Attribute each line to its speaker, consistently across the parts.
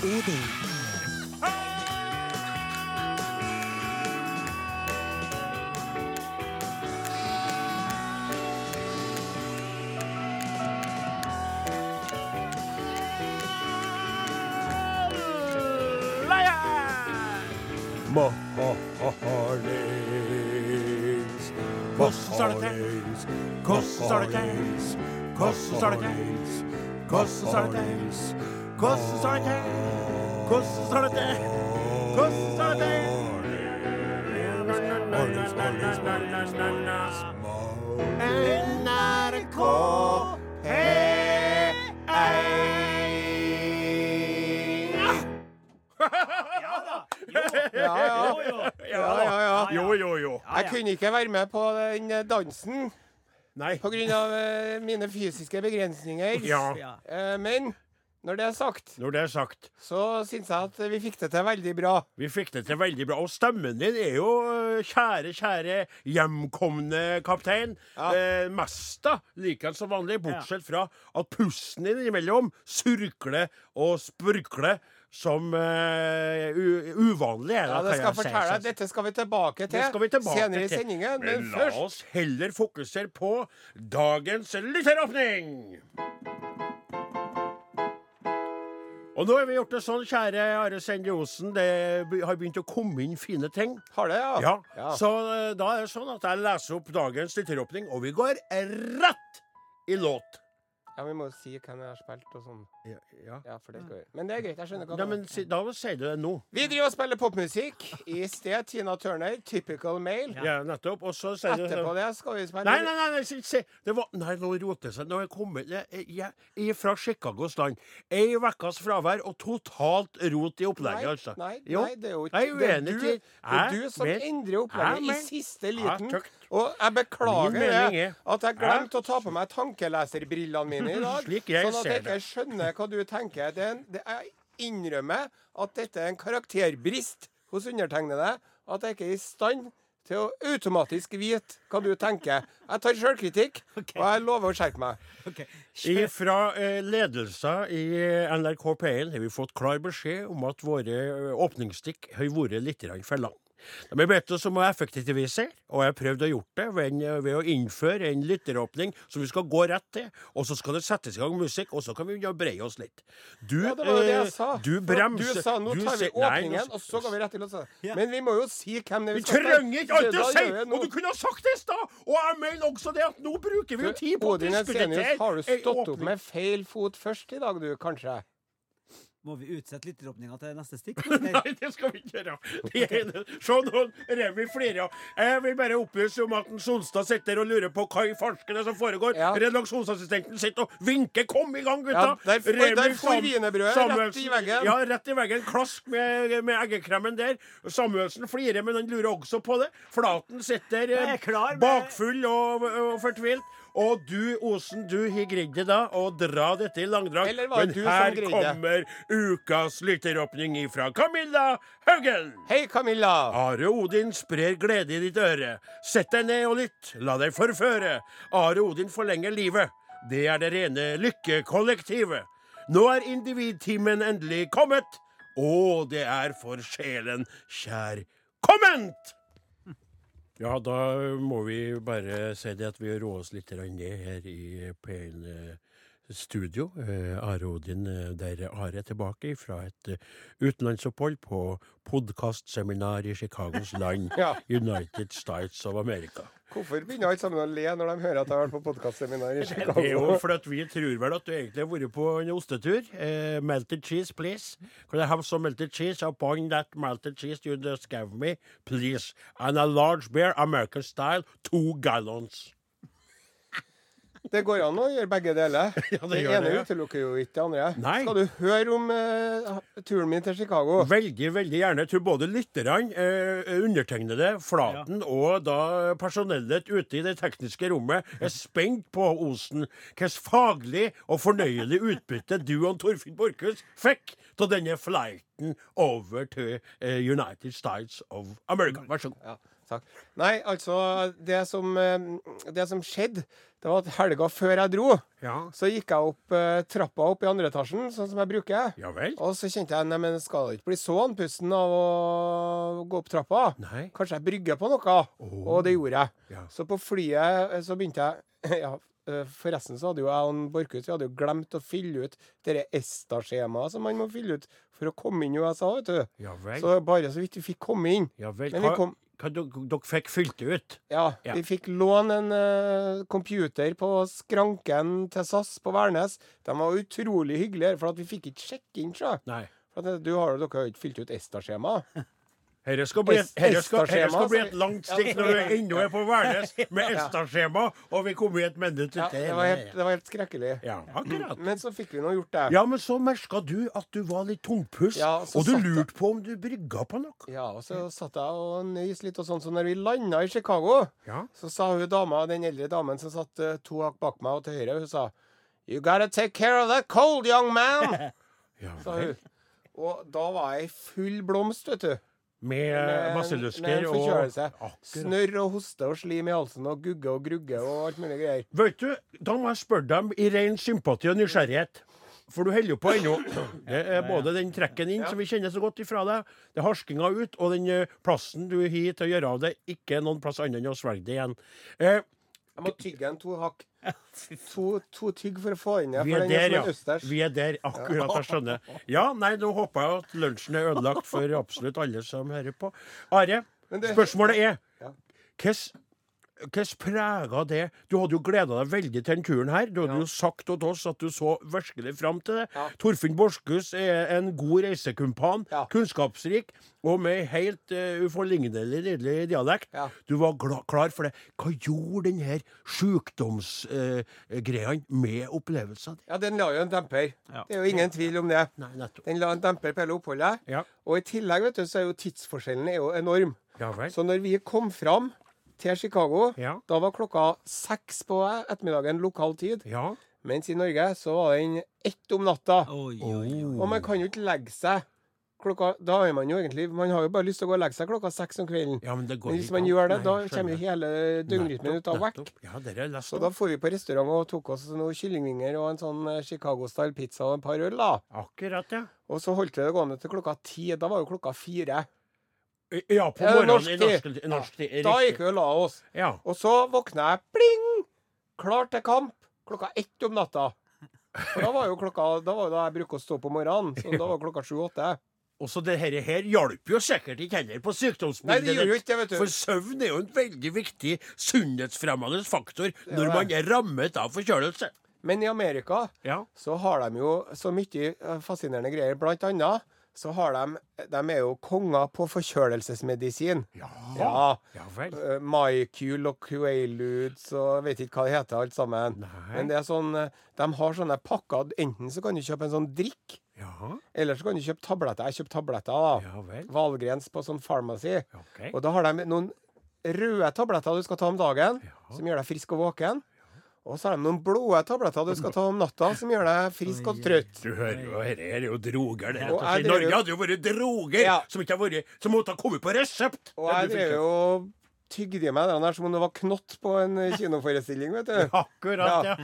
Speaker 1: CD.
Speaker 2: Mahalings. Mahalings. Mahalings. Mahalings. Mahalings. Mahalings. Mahalings. Mahalings.
Speaker 1: NRK Ja, ja. Ja, ja, ja.
Speaker 2: Jo, jo, jo.
Speaker 1: Jeg kunne ikke være med på den eh, dansen
Speaker 2: Nei.
Speaker 1: pga. eh, mine fysiske begrensninger.
Speaker 2: Ja.
Speaker 1: Eh, Men når det er sagt,
Speaker 2: Når det er sagt,
Speaker 1: så syns jeg at vi fikk det til veldig bra.
Speaker 2: vi fikk det til veldig bra. Og stemmen din er jo, eh, kjære, kjære hjemkomne kaptein,
Speaker 1: Ja.
Speaker 2: eh, mest da, likevel som vanlig, bortsett fra at pusten din innimellom surkler og spurkler som eh, u uvanlig. Er
Speaker 1: Ja,
Speaker 2: kan
Speaker 1: det
Speaker 2: jeg sånn.
Speaker 1: skal jeg
Speaker 2: si.
Speaker 1: fortelle deg. Dette skal vi tilbake til,
Speaker 2: Det skal vi tilbake
Speaker 1: senere i
Speaker 2: til.
Speaker 1: sendingen. Men,
Speaker 2: Men la
Speaker 1: først
Speaker 2: oss heller fokusere på dagens lytteråpning. Og nå har vi gjort det sånn, kjære Are Sende Osen, det be- har begynt å komme inn fine ting.
Speaker 1: har det, ja.
Speaker 2: Ja,
Speaker 1: Ja.
Speaker 2: Så eh, da er det sånn at jeg leser opp dagens lytteråpning, og vi går rett i låt.
Speaker 1: ja, vi må jo si hvem jeg har spilt og sånn.
Speaker 2: Ja, ja.
Speaker 1: Ja, for det går. Men det er greit. Jeg skjønner
Speaker 2: Nei,
Speaker 1: hva du
Speaker 2: Mm. men si- Da sier du det nå.
Speaker 1: Vi driver og spiller popmusikk. I sted Tina Turner, 'Typical Male'.
Speaker 2: Ja, nettopp. Og så sier du
Speaker 1: Etterpå det skal vi spille
Speaker 2: Nei, nei, nei, nei, se, se. Det var, nei nå roter det seg. Nå er jeg kommet jeg, jeg, jeg er fra Chicagos land. Ei ukes fravær og totalt rot i
Speaker 1: Nei,
Speaker 2: opplegget, altså.
Speaker 1: nei,
Speaker 2: Jo.
Speaker 1: nei, det er jo ikke
Speaker 2: Jeg er
Speaker 1: det er
Speaker 2: uenig
Speaker 1: du-
Speaker 2: til-
Speaker 1: Det er
Speaker 2: Jeg
Speaker 1: du som
Speaker 2: men-
Speaker 1: endrer
Speaker 2: Jeg
Speaker 1: opplegget i
Speaker 2: men-
Speaker 1: siste
Speaker 2: Jeg
Speaker 1: liten.
Speaker 2: tøkt.
Speaker 1: Og jeg beklager
Speaker 2: Min mening
Speaker 1: det,
Speaker 2: er-
Speaker 1: at jeg glemte å ta på meg tankeleserbrillene mine i dag.
Speaker 2: Slik jeg
Speaker 1: sånn at jeg
Speaker 2: ser
Speaker 1: ikke skjønner hva du tenker. Det er en, det, jeg innrømmer at dette er en karakterbrist hos undertegnede. At jeg ikke er i stand til å automatisk vite hva du tenker. Jeg tar sjølkritikk, og jeg lover å skjerpe meg.
Speaker 2: Fra eh, ledelsen i eh, NRK P1 har vi fått klar beskjed om at våre eh, åpningsstikk har vært litt grann for lange. De har bedt oss om å effektivisere, og jeg har prøvd å gjort det ved, en, eh, ved å innføre en lytteråpning som vi skal gå rett til, og så skal det settes i gang musikk, og så kan vi begynne å breie oss litt. Du,
Speaker 1: Ja, det var jo det jeg
Speaker 2: eh,
Speaker 1: sa.
Speaker 2: Du
Speaker 1: For
Speaker 2: bremser.
Speaker 1: Du sa nå
Speaker 2: du
Speaker 1: tar vi
Speaker 2: sier- Nei, nå-
Speaker 1: åpningen, og så går vi rett til låta. Men vi må jo si hvem det er
Speaker 2: vi trenger ikke alt å si! Og du
Speaker 1: kunne
Speaker 2: kunne ha sagt det i stad! Og jeg mener også det at nå bruker vi jo tid på å
Speaker 1: Odin Ensenius,
Speaker 2: diskutere
Speaker 1: har du
Speaker 2: ei
Speaker 1: stått opp
Speaker 2: åpning.
Speaker 1: med feil fot først i dag, du, kanskje?
Speaker 3: Må vi utsette lytteråpninga til neste stikk?
Speaker 2: Nei, det skal vi ikke gjøre. Det Sånn er- Se nå, Remi flirer. Jeg vil bare opplyse om at en Solstad sitter og lurer på hva i farsken det er som foregår.
Speaker 1: Ja.
Speaker 2: Redaksjonsassistenten sitter og vinker 'kom i gang, gutta'!
Speaker 1: Ja, der-
Speaker 2: Remi
Speaker 1: der for
Speaker 2: Sam-
Speaker 1: wienerbrødet,
Speaker 2: Samuelsen-
Speaker 1: rett i veggen.
Speaker 2: Ja, rett i veggen. Klask med, med eggekremen der. Samuelsen flirer, men han lurer også på det. Flaten sitter eh,
Speaker 3: Jeg er klar med-
Speaker 2: bakfull og, og fortvilt. Og du, Osen, du har greid det da å dra dette i langdrag.
Speaker 1: Eller var det
Speaker 2: Men
Speaker 1: du som
Speaker 2: her
Speaker 1: greide?
Speaker 2: kommer ukas lytteråpning ifra Camilla Haugen.
Speaker 1: Hei, Camilla!
Speaker 2: Are Odin sprer glede i ditt øre. Sett deg ned og lytt. La deg forføre. Are Odin forlenger livet. Det er det rene lykkekollektivet. Nå er individtimen endelig kommet. Å, det er for sjelen kjærkomment! Ja, da må vi bare si det at vi roer oss litt grann ned her i P1 eh, Studio. Eh, Are Odin, eh, der Are er tilbake fra et eh, utenlandsopphold på podkastseminar i Chicagos land,
Speaker 1: Ja.
Speaker 2: United States of America.
Speaker 1: Hvorfor begynner alle sammen å le når de hører at jeg har vært på podkastseminar i
Speaker 2: Det er jo
Speaker 1: Chicago?
Speaker 2: fordi at vi tror vel at du egentlig har vært på en ostetur. Eh, melted cheese, please. Can I have some melted cheese upon that melted cheese you just gave me, please? And a large beer, American style, two gallons.
Speaker 1: Det går an å gjøre begge deler.
Speaker 2: Ja, det
Speaker 1: det
Speaker 2: gjør
Speaker 1: ene
Speaker 2: det,
Speaker 1: utelukker jo ikke det andre.
Speaker 2: Nei.
Speaker 1: Skal du høre om eh, turen min til Chicago?
Speaker 2: Veldig, veldig gjerne. Jeg tror både lytterne, eh, undertegnede, Flaten og da personellet ute i det tekniske rommet er spent på, Osen, hvilket faglig og fornøyelig utbytte du og Torfinn Borchhus fikk av denne flighten over til eh, United States of America. Vær så god.
Speaker 1: Ja. Takk. Nei, altså, det som, eh, det som skjedde, det var at helga før jeg dro,
Speaker 2: Ja.
Speaker 1: så gikk jeg opp eh, trappa opp i andre etasjen, sånn som jeg bruker.
Speaker 2: Ja vel?
Speaker 1: Og så kjente jeg nei, men skal det ikke bli så andpusten av å gå opp trappa?
Speaker 2: Nei.
Speaker 1: Kanskje jeg brygger på noe? Og det gjorde jeg.
Speaker 2: Ja.
Speaker 1: Så på flyet eh, så begynte jeg ja, eh, Forresten så hadde jo jeg og en Borchhus vi hadde jo glemt å fylle ut det ESTA-skjemaet som man må fylle ut for å komme inn i USA, vet du.
Speaker 2: Ja vel.
Speaker 1: Så bare så vidt vi fikk komme inn.
Speaker 2: ja vel.
Speaker 1: Men vi
Speaker 2: Hva,
Speaker 1: kom-
Speaker 2: hva dere dere fikk fylt ut?
Speaker 1: Ja,
Speaker 2: Ja.
Speaker 1: vi fikk låne en eh, computer på skranken til SAS på Værnes. De var utrolig hyggelige, for at vi fikk ikke sjekke inn, sjø.
Speaker 2: Nei.
Speaker 1: For at, eh, du har, dere har jo ikke fylt ut ESTA-skjema.
Speaker 2: Dette skal, bli et-
Speaker 1: Es-
Speaker 2: herre skal, herre
Speaker 1: Esta-skjema,
Speaker 2: skal bli
Speaker 1: så-
Speaker 2: et langt stikk når du ennå er på Værnes med Esta-skjema, og vi kommer i et minutt
Speaker 1: Ja,
Speaker 2: til.
Speaker 1: det, var helt, det var helt skrekkelig.
Speaker 2: Ja, akkurat.
Speaker 1: Men så fikk vi nå gjort det.
Speaker 2: Ja, men så merka du at du var litt tungpust,
Speaker 1: Ja, så
Speaker 2: og du
Speaker 1: satt jeg-
Speaker 2: lurte på om du brygga på noe.
Speaker 1: Ja, og så satt jeg og nøys litt, og sånn, så når vi landa i Chicago,
Speaker 2: Ja.
Speaker 1: så sa hun dama, den eldre damen som satt eh, to hakk bak meg og til høyre, hun sa You gotta take care of that cold, young man!
Speaker 2: Ja
Speaker 1: sa
Speaker 2: vel.
Speaker 1: hun. Og da var jeg i full blomst, vet du.
Speaker 2: Med
Speaker 1: med
Speaker 2: Eh, basillusker
Speaker 1: en
Speaker 2: og
Speaker 1: forkjølelse.
Speaker 2: Akkurat.
Speaker 1: Snørr og hoste og slim i halsen og gugge og grugge og alt mulig greier.
Speaker 2: Vet du, da må jeg spørre dem i ren sympati og nysgjerrighet. For du holder jo på ennå. Det er både den trekken inn, som vi kjenner så godt ifra deg, det er harskinga ut, og den eh, plassen du har til å gjøre av det, ikke noen plass annet enn å svelge det igjen. Eh,
Speaker 1: Jeg må tygge en to hakk. To, to tygg for å få inn det.
Speaker 2: vi
Speaker 1: for
Speaker 2: er
Speaker 1: den
Speaker 2: der,
Speaker 1: som
Speaker 2: ja.
Speaker 1: er østers.
Speaker 2: Vi er der, akkurat. Jeg skjønner. Ja, nei, nå håper jeg at lunsjen er ødelagt for absolutt alle som hører på. Are,
Speaker 1: Men det-
Speaker 2: spørsmålet er
Speaker 1: Ja.
Speaker 2: hvordan hvordan prega det Du hadde jo gleda deg veldig til denne turen her. Du hadde jo sagt til oss at du så virkelig fram til det.
Speaker 1: Ja.
Speaker 2: Torfinn Borchhus er en god reisekumpan.
Speaker 1: Ja.
Speaker 2: Kunnskapsrik og med helt eh, uforlignelig nydelig dialekt.
Speaker 1: Ja.
Speaker 2: Du var gla klar for det. Hva gjorde den her sjukdomsgreia eh, greia med opplevelsen din?
Speaker 1: Ja, den la jo en demper.
Speaker 3: Ja.
Speaker 1: Det er jo ingen tvil om det.
Speaker 2: Nei, nettopp.
Speaker 1: Den la en demper på hele oppholdet.
Speaker 2: Ja.
Speaker 1: Og i tillegg vet du, så er jo tidsforskjellen er jo enorm.
Speaker 2: Ja vel.
Speaker 1: Så når vi kom fram til Chicago,
Speaker 2: Ja.
Speaker 1: da var klokka seks på ettermiddagen lokal tid.
Speaker 2: Ja.
Speaker 1: Mens i Norge så var den ett om natta.
Speaker 3: Oi, oi, oi.
Speaker 1: Og
Speaker 2: Mm.
Speaker 1: man kan jo ikke legge seg klokka Da er man jo egentlig Man har jo bare lyst til å gå og legge seg klokka seks om kvelden.
Speaker 2: ja, men det går
Speaker 1: Men hvis
Speaker 2: ikke
Speaker 1: man
Speaker 2: an.
Speaker 1: gjør det,
Speaker 2: Nei,
Speaker 1: da
Speaker 2: jeg
Speaker 1: kommer
Speaker 2: skjønner.
Speaker 1: jo hele døgnrytmen ut av
Speaker 2: Nettopp,
Speaker 1: whack.
Speaker 2: nettopp. Ja, dere er lest
Speaker 1: Så da
Speaker 2: opp.
Speaker 1: for vi på restaurant og tok oss noen kyllingvinger og en sånn eh, Chicago-style pizza og et par øl, da.
Speaker 2: Akkurat, ja.
Speaker 1: Og så holdt vi det gående til klokka ti. Da var jo klokka fire.
Speaker 2: I- Ja, på
Speaker 1: Ja, det
Speaker 2: morgenen i
Speaker 1: er norsk
Speaker 2: norsk,
Speaker 1: tid.
Speaker 2: i norsk tid.
Speaker 1: Da gikk
Speaker 2: Riktig.
Speaker 1: vi og la oss.
Speaker 2: Ja.
Speaker 1: Og så våkna jeg, pling, klar til kamp, klokka ett om natta. For da var jo klokka Da var jo da jeg bruker å stå opp om morgenen. Så da var klokka sju-åtte.
Speaker 2: Og så det herre her hjalp jo sikkert ikke heller på
Speaker 1: Nei, det
Speaker 2: sykdomsbildet.
Speaker 1: gjorde jo
Speaker 2: ditt.
Speaker 1: ikke det, vet du.
Speaker 2: For søvn er jo en veldig viktig sunnhetsfremmende faktor når
Speaker 1: det.
Speaker 2: man er rammet av forkjølelse.
Speaker 1: Men i Amerika
Speaker 2: Ja.
Speaker 1: så har de jo så mye eh, fascinerende greier. Blant annet så har de De er jo konger på forkjølelsesmedisin.
Speaker 2: Ja.
Speaker 1: Ja.
Speaker 2: vel.
Speaker 1: Eh, Mycule og Quaaludes og vet ikke hva det heter, alt sammen.
Speaker 2: Nei.
Speaker 1: Men det er sånn eh, De har sånne pakker. Enten så kan du kjøpe en sånn drikk,
Speaker 2: Ja,
Speaker 1: eller så kan du kjøpe tabletter. Jeg kjøpte tabletter, da.
Speaker 2: ja vel.
Speaker 1: Valgrens på sånn pharmacy.
Speaker 2: Ok.
Speaker 1: Og da har de noen røde tabletter du skal ta om dagen,
Speaker 2: Ja.
Speaker 1: som gjør deg frisk og våken. Og så har de noen blå tabletter du skal ta om natta, som gjør deg frisk og trøtt.
Speaker 2: Du hører jo, herre her er jo droger. Det, er rett
Speaker 1: Og
Speaker 2: og slett.
Speaker 1: jeg driver
Speaker 2: Norge
Speaker 1: jo-
Speaker 2: hadde jo vært droger
Speaker 1: Ja.
Speaker 2: som ikke har vært, som måtte ha kommet på resept.
Speaker 1: Og
Speaker 2: Det
Speaker 1: jeg
Speaker 2: du fikk
Speaker 1: drev jo og tygde i meg den der som om det var knott på en eh, kinoforestilling, vet du.
Speaker 2: kjøpt. Akkurat, ja.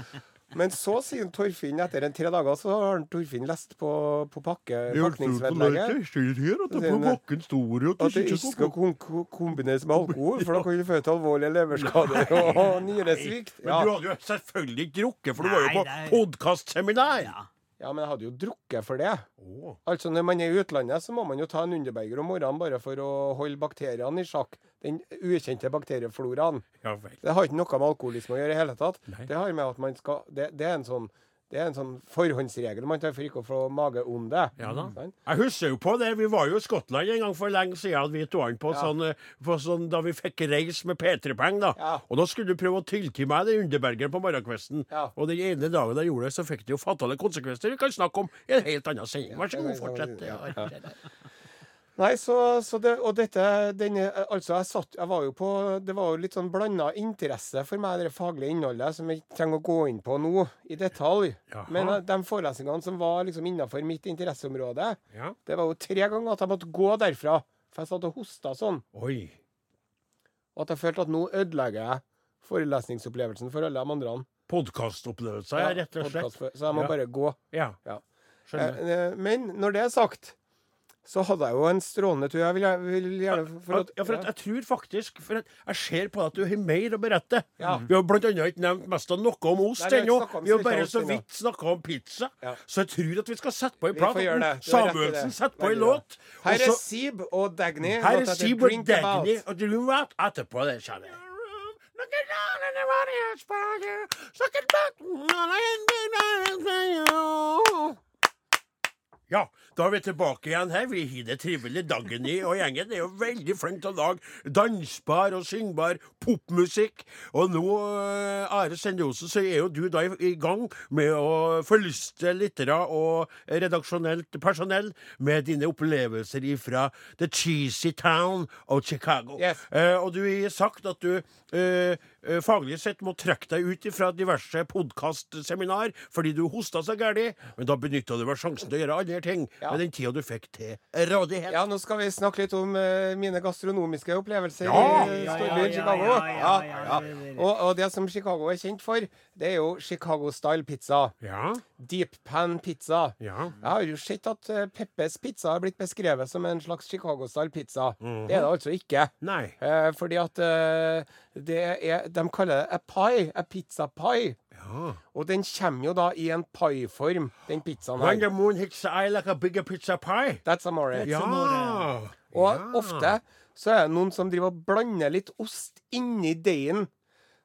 Speaker 1: Men så sier Torfinn etter en tre dager så har han Torfinn lest på, på pakke, pakningsvedlegget at det ikke skal kon- ko- kombineres med alkohol, for da kan det føre til alvorlige leverskader og nyresvikt.
Speaker 2: Men
Speaker 1: Ja.
Speaker 2: du hadde jo selvfølgelig ikke drukket, for du var jo
Speaker 3: Nei,
Speaker 2: på
Speaker 3: nei.
Speaker 2: podkastseminar.
Speaker 3: Ja.
Speaker 1: ja, men jeg hadde jo drukket for det.
Speaker 2: Å,
Speaker 1: Altså Når man er i utlandet, så må man jo ta en underberger om morgenen bare for å holde bakteriene i sjakk. Den ukjente bakteriefloraen.
Speaker 2: ja vel.
Speaker 1: Det har ikke noe med alkoholisme å gjøre i hele tatt.
Speaker 2: Nei.
Speaker 1: Det har med at man skal Det, det er en sånn det er en sånn forhåndsregel man tar for ikke å få mageonde.
Speaker 2: Ja da.
Speaker 1: Sant?
Speaker 2: Jeg husker jo på det. Vi var jo i Skottland en gang for lenge siden, vi to an på,
Speaker 1: Ja.
Speaker 2: sånn, eh, på sånn, da vi fikk reis med P3-penger. da.
Speaker 1: Ja.
Speaker 2: Og da skulle du prøve å tilti meg den underbergeren på morgenkvisten.
Speaker 1: Ja.
Speaker 2: Og den ene dagen jeg gjorde det, så fikk det jo fatale konsekvenser. Vi kan snakke om i en helt annen sending. Vær så god, fortsett. Ja.
Speaker 1: Nei, så, så det, Og dette denne, Altså, jeg satt Jeg var jo på Det var jo litt sånn blanda interesse for meg, det faglige innholdet, som jeg ikke trenger å gå inn på nå i detalj.
Speaker 2: Jaha.
Speaker 1: Men eh, de forelesningene som var liksom innafor mitt interesseområde,
Speaker 2: Ja.
Speaker 1: det var jo tre ganger at jeg måtte gå derfra. For jeg satt og hosta sånn.
Speaker 2: Oi.
Speaker 1: Og at jeg følte at nå ødelegger jeg forelesningsopplevelsen for alle de andre.
Speaker 2: Podkastopplevelser, ja, rett og slett.
Speaker 1: podkast- Så jeg må
Speaker 2: Ja.
Speaker 1: bare gå.
Speaker 2: Ja,
Speaker 1: Ja.
Speaker 2: skjønner.
Speaker 1: Eh, eh, Men når det er sagt, så hadde jeg jo en strålende tur. Jeg vil, jeg vil gjerne for at,
Speaker 2: ja, for at jeg tror faktisk for at Jeg ser på deg at du har mer å berette.
Speaker 1: Ja.
Speaker 2: Vi har blant annet ikke nevnt mest av noe om ost
Speaker 1: Nei, vi har ikke
Speaker 2: ennå.
Speaker 1: snakket om
Speaker 2: Vi har
Speaker 1: snittet
Speaker 2: bare
Speaker 1: ost
Speaker 2: så
Speaker 1: ennå.
Speaker 2: vidt snakka om pizza.
Speaker 1: Ja.
Speaker 2: Så jeg tror at vi skal sette på en
Speaker 1: Vi
Speaker 2: plat.
Speaker 1: får gjøre det. Du har rett i det.
Speaker 2: Samuelsen setter på
Speaker 1: Veldig
Speaker 2: en
Speaker 1: bra.
Speaker 2: låt. og
Speaker 1: Her er
Speaker 2: så-
Speaker 1: Seeb og Dagny.
Speaker 2: Her
Speaker 1: låta
Speaker 2: er
Speaker 1: heter
Speaker 2: Seabird
Speaker 1: Drink About.
Speaker 2: Dagny og Dream Out etterpå. Det kjenner jeg. Ja, da er vi tilbake igjen her. Vi har det trivelig. Dagny og gjengen er jo veldig flink til å lage dansbar og syngbar popmusikk. Og nå, eh, Are Sendiosen, så er jo du da i, i gang med å forlyste lyttere og redaksjonelt personell med dine opplevelser ifra The Cheesy Town of Chicago.
Speaker 1: Yes.
Speaker 2: Eh, og du har sagt at du eh, eh, faglig sett må trekke deg ut fra diverse podkastseminar fordi du hosta så gæli, men da benytta du vel sjansen til å gjøre andre ting
Speaker 1: Ja.
Speaker 2: med den tida du fikk til rådighet.
Speaker 1: Ja, nå skal vi snakke litt om eh, mine gastronomiske opplevelser
Speaker 2: Ja!
Speaker 1: i
Speaker 3: Ja,
Speaker 1: eh,
Speaker 3: ja,
Speaker 1: storbyen
Speaker 3: ja,
Speaker 1: Chicago.
Speaker 3: ja, ja, ja, ja.
Speaker 1: Og, og det som Chicago er kjent for, det er jo Chicago-style pizza.
Speaker 2: Ja,
Speaker 1: Deep pan pizza.
Speaker 2: ja.
Speaker 1: Jeg har jo sett at eh, Peppes pizza er blitt beskrevet som en slags Chicago-style pizza.
Speaker 3: Mhm.
Speaker 1: Det er det altså ikke.
Speaker 2: Nei.
Speaker 1: Eh, fordi at eh, det er De kaller det a pie. A pizza pie.
Speaker 2: Ja.
Speaker 1: Og den kommer jo da i en pie-form, den pizzaen
Speaker 2: When
Speaker 1: her.
Speaker 2: the moon hits the eye like a bigger pizza pie.
Speaker 1: That's amore.
Speaker 2: Ja.
Speaker 3: more,
Speaker 1: eh, Og
Speaker 2: Ja.
Speaker 1: ofte så er det noen som driver og blander litt ost inni deigen.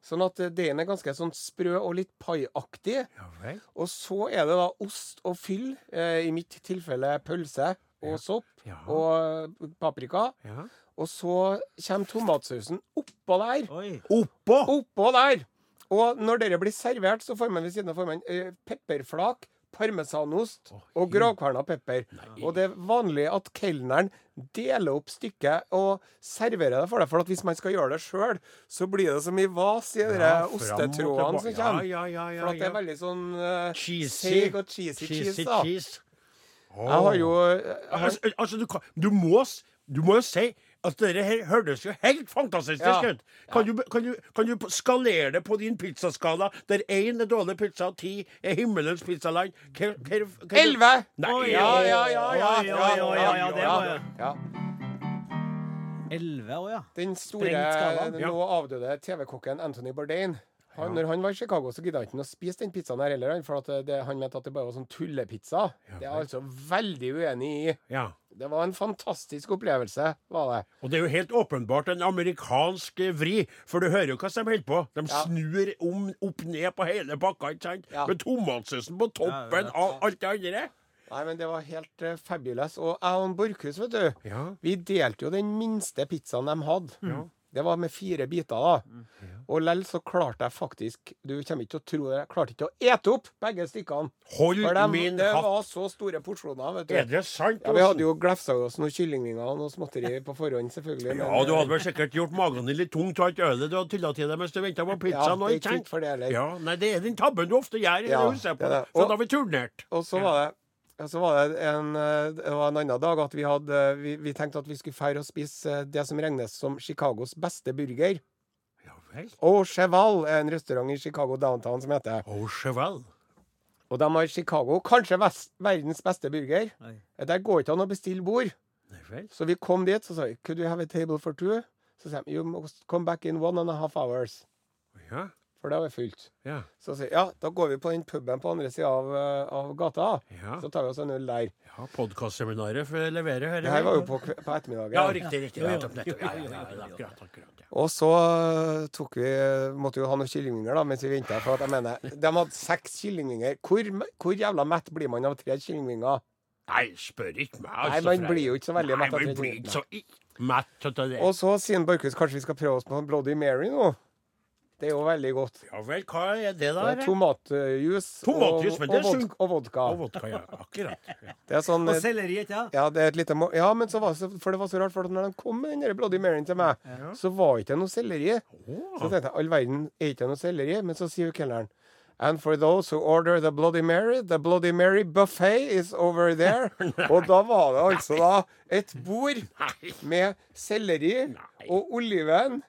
Speaker 1: Sånn at eh, deigen er ganske sånn sprø og litt paiaktig.
Speaker 2: Ja vel.
Speaker 1: Og så er det da ost og fyll, eh, i mitt tilfelle pølse og sopp
Speaker 2: Ja.
Speaker 1: og paprika.
Speaker 2: Ja.
Speaker 1: Og så kommer tomatsausen oppå der.
Speaker 3: Oi.
Speaker 2: Oppå!
Speaker 1: Oppå der! Og når dere blir servert, så får man ved siden av formen eh, pepperflak, parmesanost og gravkverna pepper. Og det er vanlig at kelneren deler opp stykket og serverer det for deg. For at hvis man skal gjøre det sjøl, så blir det som i vas i
Speaker 2: Ja,
Speaker 1: de
Speaker 2: fram og
Speaker 1: ostetrådene som
Speaker 2: tilbake.
Speaker 1: kommer.
Speaker 2: Ja, ja, ja, ja,
Speaker 1: for at det
Speaker 2: ja.
Speaker 1: er veldig sånn eh,
Speaker 2: Cheesy.
Speaker 1: seig og cheesy, cheese,
Speaker 2: Cheesy
Speaker 1: da.
Speaker 2: cheese.
Speaker 1: Jeg har jo eh,
Speaker 2: Ja,
Speaker 1: jeg har,
Speaker 2: Altså, altså du, kan, du, må, s- du må jo si at dette her hørtes jo helt fantastisk
Speaker 1: Ja.
Speaker 2: ut. Kan, du, kan, du, kan du skalere det på din pizzaskala, der én er dårlig pizza og ti er himmelens pizzaland? Hva- hva- hva-
Speaker 1: Elleve!
Speaker 2: Nei,
Speaker 3: Oi,
Speaker 1: Ja, ja, ja, ja.
Speaker 3: Oi, oi, oi, ja, ja, det var det.
Speaker 1: Ja.
Speaker 3: Elleve, å ja.
Speaker 1: Den store,
Speaker 3: Sprengt skalaen,
Speaker 2: ja.
Speaker 1: nå avdøde TV-kokken Anthony Bourdain han, Når han var i Chicago, så gidda han ikke å spise den pizzaen her heller. han, For at eh, det, han mente at det bare var sånn tullepizza. det er jeg altså veldig uenig i.
Speaker 2: Ja.
Speaker 1: Det var en fantastisk opplevelse, var det.
Speaker 2: Og det er jo helt åpenbart en amerikansk eh, vri, for du hører jo hva som holder på. De
Speaker 1: Ja.
Speaker 2: snur om, opp ned på hele pakka, ikke sant?
Speaker 1: Ja.
Speaker 2: Med tomatsausen på toppen
Speaker 3: Ja,
Speaker 2: av alt det andre.
Speaker 1: Nei, men det var helt eh, fabulous. Og jeg og Borchhus, vet du,
Speaker 2: Ja.
Speaker 1: vi delte jo den minste pizzaen de hadde. Det var med fire biter,
Speaker 2: Mm.
Speaker 1: da. Og lell så klarte jeg faktisk Du kommer ikke til å tro det, jeg klarte ikke å ete opp begge stykkene.
Speaker 2: Hold
Speaker 1: For dem,
Speaker 2: min
Speaker 1: det
Speaker 2: hatt.
Speaker 1: var så store porsjoner, vet du.
Speaker 2: Er det sant? altså.
Speaker 1: Ja, Vi
Speaker 2: Åsen?
Speaker 1: hadde jo glefsa i oss noen kyllingvinger og noe småtteri på forhånd, selvfølgelig.
Speaker 2: Ja, du hadde vel sikkert gjort magen din litt tung av alt ølet du hadde tylla til deg mens du venta på
Speaker 1: eh, Ja,
Speaker 2: pizzaen.
Speaker 1: det
Speaker 2: og
Speaker 1: er
Speaker 2: ikke sant?
Speaker 1: ikke for det heller.
Speaker 2: ja, nei, det er den tabben du ofte gjør i
Speaker 1: Ja,
Speaker 2: det huset.
Speaker 1: det
Speaker 2: på,
Speaker 1: er det.
Speaker 2: for
Speaker 1: Og-
Speaker 2: da har vi turnert.
Speaker 1: Og så var det og så var det en, eh, det var en annen dag at vi, hadde, vi, vi tenkte at vi skulle fære og spise eh, det som regnes som Chicagos beste burger.
Speaker 2: Ja vel.
Speaker 1: Og Cheval er en restaurant i Chicago downtown som heter.
Speaker 2: Oh, cheval.
Speaker 1: Og de har i Chicago kanskje vest, verdens beste burger. Eh,
Speaker 3: Oi.
Speaker 1: Der går ikke an å bestille bord.
Speaker 2: Nei vel.
Speaker 1: Så vi kom dit, så sa vi Could you have a table for two? Så sa de You must come back in one and a half hours.
Speaker 2: Ja.
Speaker 1: For det var fullt.
Speaker 2: Ja.
Speaker 1: Så sier jeg, ja, da går vi på den puben på andre sida av, eh, av gata.
Speaker 2: Ja.
Speaker 1: Så tar vi oss en øl der.
Speaker 2: ja Podkastseminaret for å levere her.
Speaker 1: Det her var jo på, kve- på ettermiddagen.
Speaker 2: Ja, riktig. riktig.
Speaker 3: Ja, ja.
Speaker 2: Nettopp, nettopp. Ja, ja, ja, ja, akkurat, akkurat, ja.
Speaker 1: Og så eh, tok vi, måtte vi jo ha noen kyllingvinger da, mens vi venta. For at jeg mener, de hadde seks kyllingvinger. Hvor, m- hvor jævla mett blir man av tre kyllingvinger?
Speaker 2: Nei, spør ikke meg.
Speaker 1: Nei, man blir jo ikke så veldig mett
Speaker 2: mett.
Speaker 1: av
Speaker 2: Nei,
Speaker 1: det.
Speaker 2: man blir ikke så i- mett av det.
Speaker 1: Og så sier Borchhus kanskje vi skal prøve oss på en Bloody Mary nå. Det er jo veldig godt.
Speaker 2: Ja vel, hva er det
Speaker 1: Det er
Speaker 2: der?
Speaker 1: Tomatjus og, og,
Speaker 2: Tomatjus, men det er sunt.
Speaker 1: vod- og vodka.
Speaker 2: Og vodka, ja. Akkurat. Ja.
Speaker 1: Det er sånn
Speaker 3: Og
Speaker 1: eh,
Speaker 3: selleri, ikke sant?
Speaker 1: Ja, det er et lite må- Ja, men så var det, så- for det var så rart, for at når de kom med den der Bloody Maryen til meg, så var ikke det noe selleri. Så
Speaker 2: Åh.
Speaker 1: tenkte jeg all verden, er ikke det noe selleri? Men så sier jo kelneren And for those who order the Bloody Mary, the Bloody Mary buffet is over there. Og da var det altså da et bord
Speaker 2: Nei.
Speaker 1: med selleri og oliven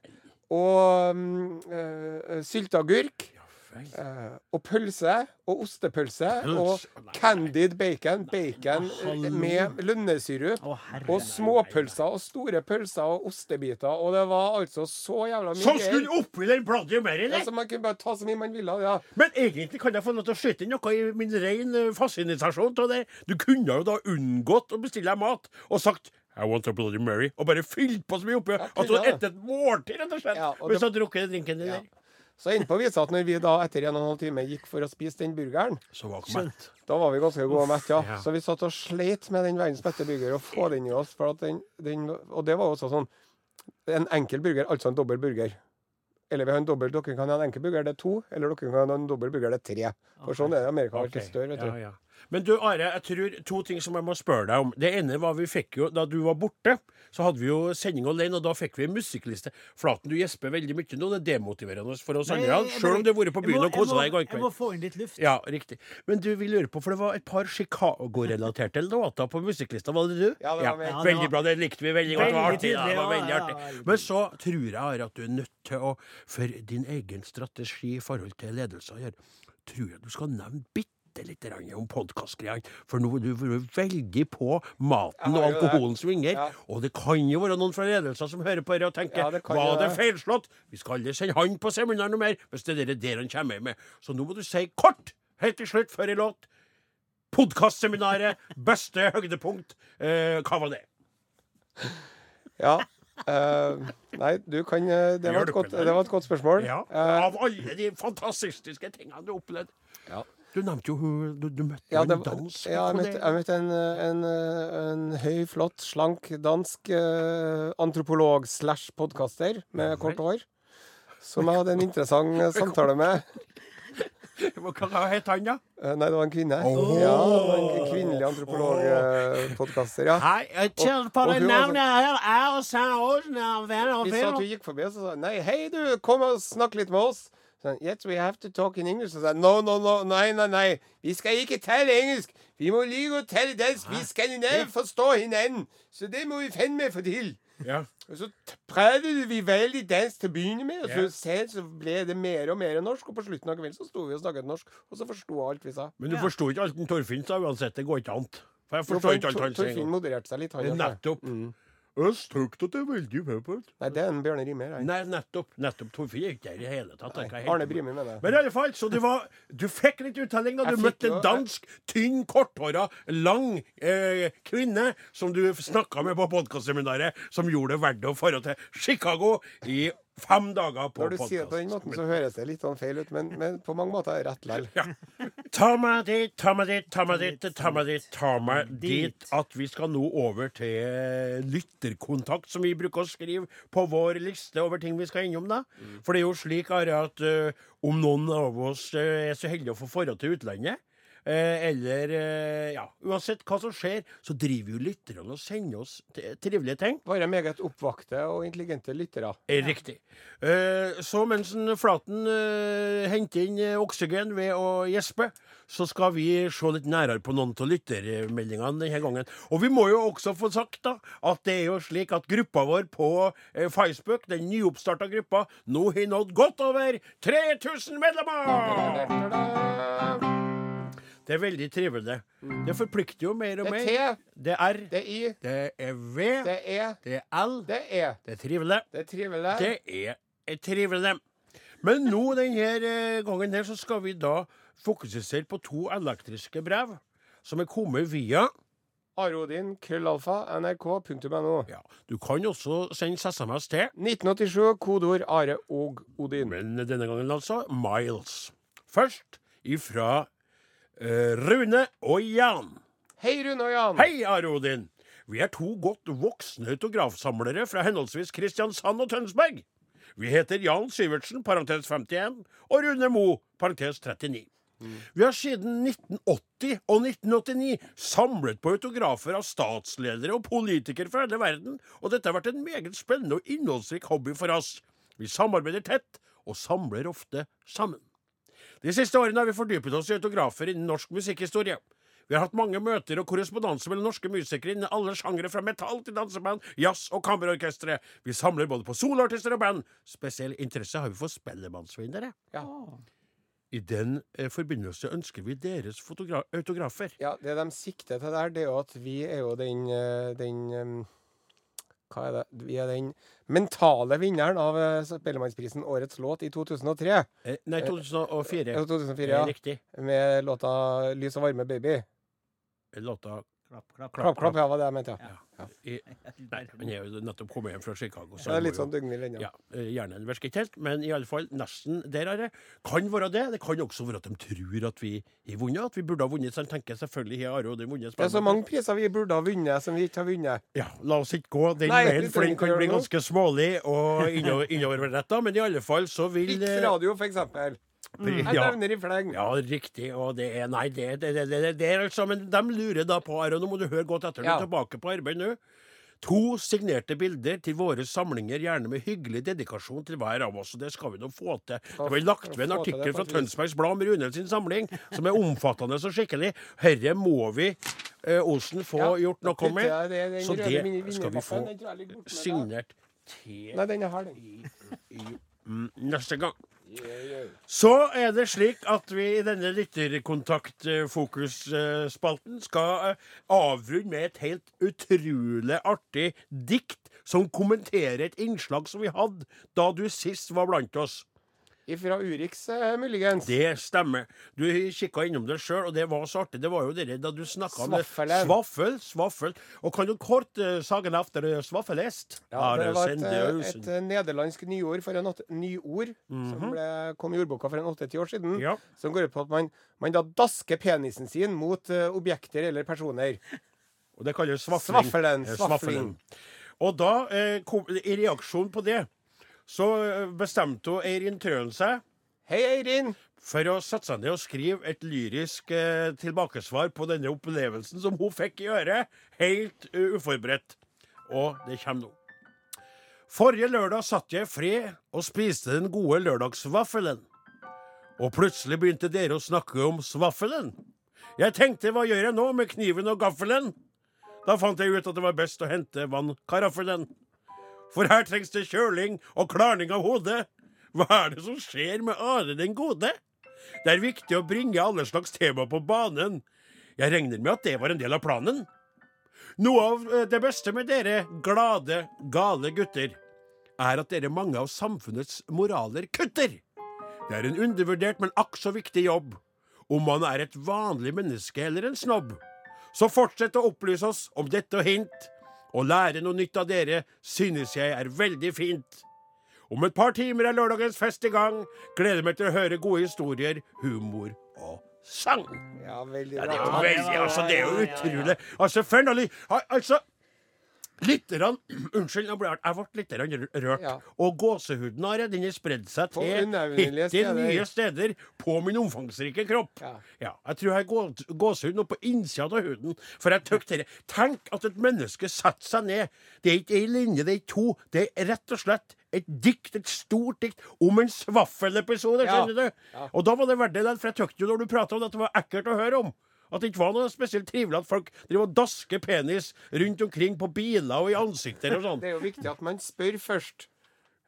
Speaker 1: og mm, eh, sylteagurk. eh, og pølse. Og ostepølse.
Speaker 2: Pølse?
Speaker 1: Og candied bacon. Bacon eh, med lønnesyrup.
Speaker 3: Å, herre.
Speaker 1: og småpølser og store pølser og ostebiter. Og det var altså så jævla mye
Speaker 2: Som
Speaker 1: greier.
Speaker 2: skulle oppi den Bloody Mary,
Speaker 1: Ja,
Speaker 2: nei!
Speaker 1: så man kunne bare ta så mye man ville. Ja.
Speaker 2: Men egentlig kan jeg få lov til å skyte inn noe i min ren eh, fascinasjon av det. Du kunne jo da unngått å bestille deg mat og sagt I want a Bloody Mary, og bare fylt på så mye oppi at du hadde
Speaker 1: kunne jeg
Speaker 2: spist et måltid, rett og slett,
Speaker 1: Ja, og
Speaker 2: hvis du
Speaker 1: det-
Speaker 2: hadde drukket den drinken din.
Speaker 1: Ja.
Speaker 2: der.
Speaker 1: Så innpå viser at når vi da etter en og en halv time gikk for å spise den burgeren,
Speaker 2: Så var det mett.
Speaker 1: da var vi ganske gode og mette, ja.
Speaker 2: ja.
Speaker 1: Så vi satt og sleit med den verdens beste burger og få den i oss. For at den, den, og det var også sånn En enkel burger, altså en dobbel burger. Eller vi har en dobbel, dere kan ha en enkel burger, det er to. Eller dere kan ha en dobbel burger, det er tre. For sånn er det i Amerika.
Speaker 2: Ok,
Speaker 1: Okay. Større, vet du.
Speaker 2: ja, ja. Men du, Are, jeg tror to ting som jeg må spørre deg om. Det ene var vi fikk jo, Da du var borte, så hadde vi jo sending alene, og da fikk vi en musikkliste. Flaten, du gjesper veldig mye nå. Det er demotiverende for oss andre, sjøl Sånn, om du har vært på byen og kosa deg i går
Speaker 3: Jeg må
Speaker 2: kveld.
Speaker 3: få inn litt luft.
Speaker 2: Ja, riktig. Men du, vi lurer på, for det var et par Chicago-relaterte låter på musikklista, var det du?
Speaker 1: Ja, det var meg.
Speaker 3: Ja, det
Speaker 2: Veldig
Speaker 3: var-
Speaker 2: bra, det likte vi veldig godt. Det var
Speaker 3: Veldig
Speaker 2: artig, da. det
Speaker 3: tydelig,
Speaker 2: var
Speaker 3: ja,
Speaker 2: veldig
Speaker 3: ja,
Speaker 2: artig.
Speaker 3: ja.
Speaker 2: Men så tror jeg Are, at du er nødt til å, for din egen strategi i forhold til ledelse å gjøre, tror jeg du skal nevne bitte litt grann om podkastgreiene, for nå er du veldig på maten og
Speaker 1: Jeg har jo det.
Speaker 2: alkoholen svinger.
Speaker 1: Ja.
Speaker 2: Og det kan jo være noen fra ledelsen som hører på dette og tenker
Speaker 1: Ja, det kan
Speaker 2: var
Speaker 1: jo
Speaker 2: det
Speaker 1: det."
Speaker 2: feilslått? Vi skal aldri sende han på seminar noe mer, hvis det er det der han kommer med. Så nå må du si kort, helt til slutt, før i låt, podkastseminaret, beste høydepunkt, eh, hva var det?
Speaker 1: Ja. eh, nei, du kan eh, Det var
Speaker 2: Gjør
Speaker 1: et godt,
Speaker 2: dere det?
Speaker 1: det var et godt spørsmål.
Speaker 2: Ja,
Speaker 1: Eh,
Speaker 2: Av alle de fantastiske tingene du opplevde.
Speaker 1: Ja.
Speaker 2: Du nevnte jo hun Du, du møtte
Speaker 1: Ja,
Speaker 2: jo
Speaker 1: det,
Speaker 2: en dansk
Speaker 1: ja, jeg møtte, jeg møtte en, eh, en, eh, en høy, flott, slank dansk eh, antropolog slash podkaster med kort hår. Som jeg hadde en interessant eh, samtale med.
Speaker 2: Hva het han, da?
Speaker 1: Eh, Nei, det var en kvinne. Ja, det var en kvinnelig antropologpodkaster. Ja.
Speaker 2: jeg
Speaker 1: kjenner på Og- og det hun navnet
Speaker 2: her. Er og Åsen er
Speaker 1: Vi sa at hun gikk forbi, og så sa hun, nei, hei du, kom og snakk litt med oss. Så sa hun, yes, we have to talk in English. Så sa hun, no, no, no, nei, nei, nei, vi skal ikke tale engelsk. Vi må lyge og tale dansk. Vi skandinaver forstår hinanden. Så det må vi finne med få til.
Speaker 2: Ja.
Speaker 1: Og så t- prøvde vi veldig dansk til å begynne med, og så
Speaker 2: Ja.
Speaker 1: sen så ble det mer og mer norsk. Og på slutten av kvelden så sto vi og snakket norsk, og så forsto jeg alt vi sa.
Speaker 2: Men du forsto ikke alt den Torfinn sa uansett. Det går ikke an. For jeg
Speaker 1: Jo,
Speaker 2: forstår
Speaker 1: for
Speaker 2: ikke alt
Speaker 1: Tor-
Speaker 2: han sier.
Speaker 1: Torfinn modererte seg litt. Han, altså.
Speaker 2: Nettopp. Jeg støkte at det er veldig peppert.
Speaker 1: Nei, det er en Bjørne Rimer. han.
Speaker 2: Nei, nettopp. nettopp. Torfinn er ikke der i det hele tatt. tenker jeg helt
Speaker 1: Arne
Speaker 2: på.
Speaker 1: Brimi, mener jeg.
Speaker 2: Men i alle fall, så du, var, du fikk litt uttelling da du
Speaker 1: Jeg fikk
Speaker 2: møtte
Speaker 1: jo-
Speaker 2: en dansk, tynn, korthåra, lang eh, kvinne som du snakka med på podkastseminaret, som gjorde det verdt å dra til Chicago i fem dager på
Speaker 1: Når du sier det på den
Speaker 2: podkast.
Speaker 1: måten, så høres det litt sånn feil ut, men, men på mange måter er det rett likevel.
Speaker 2: Ja. Ta meg dit, ta meg dit, ta meg dit, ta meg dit, ta meg dit. At vi skal nå over til lytterkontakt, som vi bruker å skrive på vår liste over ting vi skal innom, da. For det er jo slik, Are, at eh, om noen av oss eh, er så heldige å få forhold til utlandet, Eh, eller eh, ja, uansett hva som skjer, så driver jo lytterne og sender oss t- trivelige ting.
Speaker 1: Bare meget oppvakte og intelligente lyttere.
Speaker 2: Eh, Riktig. Eh, Så mens en Flaten eh, henter inn eh, oksygen ved å gjespe, så skal vi se litt nærere på noen av lyttermeldingene denne gangen. Og vi må jo også få sagt da, at det er jo slik at gruppa vår på eh, Facebook, den nyoppstarta gruppa, nå har nådd godt over 3000 medlemmer!
Speaker 1: Det
Speaker 2: Det er veldig trivelig. Det forplikter jo mer og
Speaker 1: Mm. Det
Speaker 2: mer.
Speaker 1: er T.
Speaker 2: Det er R.
Speaker 1: er I,
Speaker 2: Det er V.
Speaker 1: det er E,
Speaker 2: Det er L.
Speaker 1: det er E.
Speaker 2: Det er trivelig.
Speaker 1: Det er trivelig.
Speaker 2: Det er et trivelig. Men nå denne eh, gangen her, så skal vi da fokusere på to elektriske brev som er kommet via
Speaker 1: Arodin, krøllalfa, nrk.no.
Speaker 2: ja, Du kan også sendes SMS til,
Speaker 1: 1987, kodeord Are og Odin.
Speaker 2: men denne gangen altså Miles. Først ifra eh, Rune og Jan.
Speaker 1: Hei, Rune og Jan.
Speaker 2: Hei, Are Odin. Vi er to godt voksne autografsamlere fra henholdsvis Kristiansand og Tønsberg. Vi heter Jan Syvertsen, parentes 51, og Rune Mo, parentes 39. Vi har siden 1980 og 1989 samlet på autografer av statsledere og politikere fra hele verden, og dette har vært en meget spennende og innholdsrik hobby for oss. Vi samarbeider tett, og samler ofte sammen. De siste årene har vi fordypet oss i autografer innen norsk musikkhistorie. Vi har hatt mange møter og korrespondanse mellom norske musikere innen alle sjangere, fra metall til danseband, jazz og kammerorkestre. Vi samler både på soloartister og band. Spesiell interesse har vi for spellemannsvinnere.
Speaker 1: Ja.
Speaker 2: I den eh, forbindelse ønsker vi deres fotogra autografer.
Speaker 1: Ja, det de sikter til der, det er jo at vi er jo den, eh, den eh, Hva er det? Vi er den mentale vinneren av eh, Spellemannsprisen Årets låt i 2003.
Speaker 2: Eh, Nei, 2004.
Speaker 1: Ja, 2004,
Speaker 2: Eh,
Speaker 1: ja.
Speaker 2: Riktig.
Speaker 1: Med låta 'Lys og varme, baby'.
Speaker 2: Låta
Speaker 3: Klapp, klapp,
Speaker 1: Klapp, klapp, ja, var det jeg mente, ja.
Speaker 2: i, Nei, men jeg er jo nettopp kommet hjem fra Chicago.
Speaker 1: Så det er
Speaker 2: jeg
Speaker 1: litt
Speaker 2: må
Speaker 1: sånn
Speaker 2: jo-
Speaker 1: dugnil ennå.
Speaker 2: Ja, eh, Hjernen virker ikke helt, men iallfall nesten der er det. Kan være det. Det kan også være at de tror at vi har vunnet, at vi burde ha vunnet. Så han tenker selvfølgelig har Are Odin vunnet.
Speaker 1: Det er så mange priser vi burde ha vunnet, som vi ikke har vunnet.
Speaker 2: Ja, La oss ikke gå den
Speaker 1: Nei,
Speaker 2: veien,
Speaker 1: vi
Speaker 2: for den
Speaker 1: trenger
Speaker 2: kan
Speaker 1: ikke
Speaker 2: bli
Speaker 1: gjøre noe.
Speaker 2: ganske smålig og innover- innoverrettet, men i alle fall så vil
Speaker 1: Riks
Speaker 2: eh,
Speaker 1: Radio, for eksempel. Jeg
Speaker 2: ja.
Speaker 1: nevner i fleng.
Speaker 2: Ja, riktig. Og det er Nei, det, det, det, det, det er altså Men de lurer da på, Are, og nå må du høre godt etter, du
Speaker 1: Ja.
Speaker 2: er tilbake på arbeid nå. To signerte bilder til våre samlinger, gjerne med hyggelig dedikasjon til hver av oss. og Det skal vi nå få til. Det ble lagt ved en
Speaker 1: Få til det
Speaker 2: artikkel fra
Speaker 1: på et vis.
Speaker 2: Tønsbergs Blad om Rune sin samling, som er omfattende og skikkelig. Herre må vi, eh, Olsen, få
Speaker 1: Ja,
Speaker 2: gjort
Speaker 1: da
Speaker 2: noe
Speaker 1: putter
Speaker 2: med.
Speaker 1: jeg det- den
Speaker 2: Så
Speaker 1: røde
Speaker 2: det
Speaker 1: min-
Speaker 2: skal vi få
Speaker 1: vinnermappen, den tror jeg ligger borte med deg.
Speaker 2: signert til
Speaker 1: Nei, den er hard, den.
Speaker 2: Mm, neste gang. Så er det slik at vi i denne lytterkontaktfokusspalten skal eh, avrunde med et helt utrolig artig dikt som kommenterer et innslag som vi hadde da du sist var blant oss.
Speaker 1: Ifra Urix, eh, muligens.
Speaker 2: Det stemmer. Du kikka innom det sjøl, og det var så artig. Det var jo det da du snakka om det.
Speaker 1: Svaffelen.
Speaker 2: Svaffel, svaffel. Og kan du kort eh, sagen etter eh, svaffelest?
Speaker 1: Ja, det
Speaker 2: Are
Speaker 1: var et, eh,
Speaker 2: Sendehusen.
Speaker 1: et eh, nederlandsk nyord, for en åtte, nyord som ble, kom i ordboka for en åtte-ti år siden,
Speaker 2: Mhm. Ja.
Speaker 1: som går ut på at man, man da dasker penisen sin mot eh, objekter eller personer.
Speaker 2: Og det kalles svafling.
Speaker 1: Svaffelen,
Speaker 2: Eh,
Speaker 1: svaffling.
Speaker 2: Og da, eh, kom, i reaksjon på det, så eh, bestemte hun Eirin Trøen seg
Speaker 1: Hei, Eirin!
Speaker 2: for å sette seg ned og skrive et lyrisk eh, tilbakesvar på denne opplevelsen som hun fikk i øret, helt eh, uforberedt. Og det kommer nå. Forrige lørdag satt jeg i fred og spiste den gode lørdagsvaffelen. Og plutselig begynte dere å snakke om svaffelen. Jeg tenkte, hva gjør jeg nå med kniven og gaffelen? Da fant jeg ut at det var best å hente vannkaraffelen. For her trengs det kjøling og klarning av hodet. Hva er det som skjer med Are den gode? Det er viktig å bringe alle slags tema på banen. Jeg regner med at det var en del av planen. Noe av eh, det beste med dere glade, gale gutter er at dere mange av samfunnets moraler kutter. Det er en undervurdert, men akk så viktig jobb. Om man er et vanlig menneske eller en snobb. Så fortsett å opplyse oss om dette og hint. Å lære noe nytt av dere synes jeg er veldig fint. Om et par timer er lørdagens fest i gang. Gleder meg til å høre gode historier, humor og sang.
Speaker 1: Ja, veldig
Speaker 2: Ja, det er jo
Speaker 1: bra.
Speaker 2: veldig, altså, det er jo utrolig. Altså, for en alli- al- Altså, litt rann, Unnskyld, jeg ble, jeg ble litt rann rørt.
Speaker 1: Ja.
Speaker 2: Og gåsehuden har den har spredd seg
Speaker 1: På
Speaker 2: til
Speaker 1: unevnelige
Speaker 2: hittil nye
Speaker 1: steder.
Speaker 2: steder på min omfangsrike kropp.
Speaker 1: Ja.
Speaker 2: jeg tror jeg har gå- gåsehud nå på innsida av huden. For jeg tøk dere. Tenk at et menneske setter seg ned. Det er ikke ei linje, det er ikke to. Det er rett og slett et dikt, et stort dikt, om en svaffelepisode.
Speaker 1: Ja.
Speaker 2: Skjønner du? Og da var det verdt det, for jeg tøkte jo når du prata om det, at det var ekkelt å høre om. At det ikke var noe spesielt trivelig at folk driver og dasker penis rundt omkring på biler og i ansikter og sånn.
Speaker 1: Det er jo viktig at man spør først.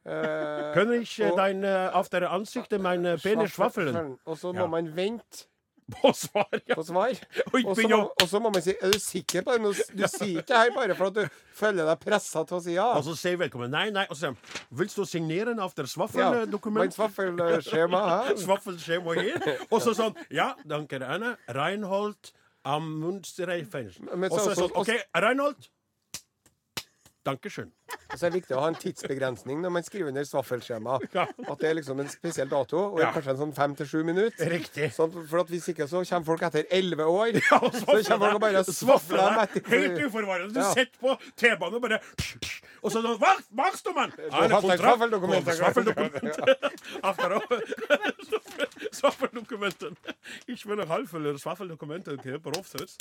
Speaker 1: Eh,
Speaker 2: Kan ikke
Speaker 1: og-
Speaker 2: dein eh, auf der ansiktet mein eh, penis svaffelen?
Speaker 1: Og så
Speaker 2: Ja.
Speaker 1: må man vente
Speaker 2: På svar, ja.
Speaker 1: på svar.
Speaker 2: Og ikke
Speaker 1: Og så
Speaker 2: begynne
Speaker 1: må-
Speaker 2: å-
Speaker 1: og så må man si Er du sikker på det? Nå- Du sier ikke det her bare for at du føler deg pressa til å si ja.
Speaker 2: Og så sier velkommen. Nei, nei. Og så sier de, vil du signere en auf der
Speaker 1: ja. Man
Speaker 2: svaffeldokument?
Speaker 1: svaffelskjema her.
Speaker 2: Svaffelskjema her. Og så sånn, ja, danke Anne. Reinhold Amundstreifen.
Speaker 1: Men
Speaker 2: Og så er
Speaker 1: så-
Speaker 2: det sånn,
Speaker 1: og-
Speaker 2: OK, Reinhold. Dankeschön.
Speaker 1: Og så er det viktig å ha en tidsbegrensning når man skriver under svaffelskjema.
Speaker 2: Ja.
Speaker 1: At det er liksom en spesiell dato, og
Speaker 2: Ja.
Speaker 1: kanskje en sånn fem til sju minutter.
Speaker 2: Riktig.
Speaker 1: Sånn, for at hvis ikke så kommer folk etter elleve år.
Speaker 2: Ja, og
Speaker 1: så kommer folk og bare
Speaker 2: svafler
Speaker 1: svafler dem
Speaker 2: deg.
Speaker 1: etter.
Speaker 2: Helt uforvarende. Du
Speaker 1: Ja.
Speaker 2: sitter på T-banen og bare Og så sånn Hva, hva står man?
Speaker 1: har hatt et svaffeldokument.
Speaker 2: Svaffeldokumentet. Ich will halvfølge svaffeldokumentet og kjøper offsets.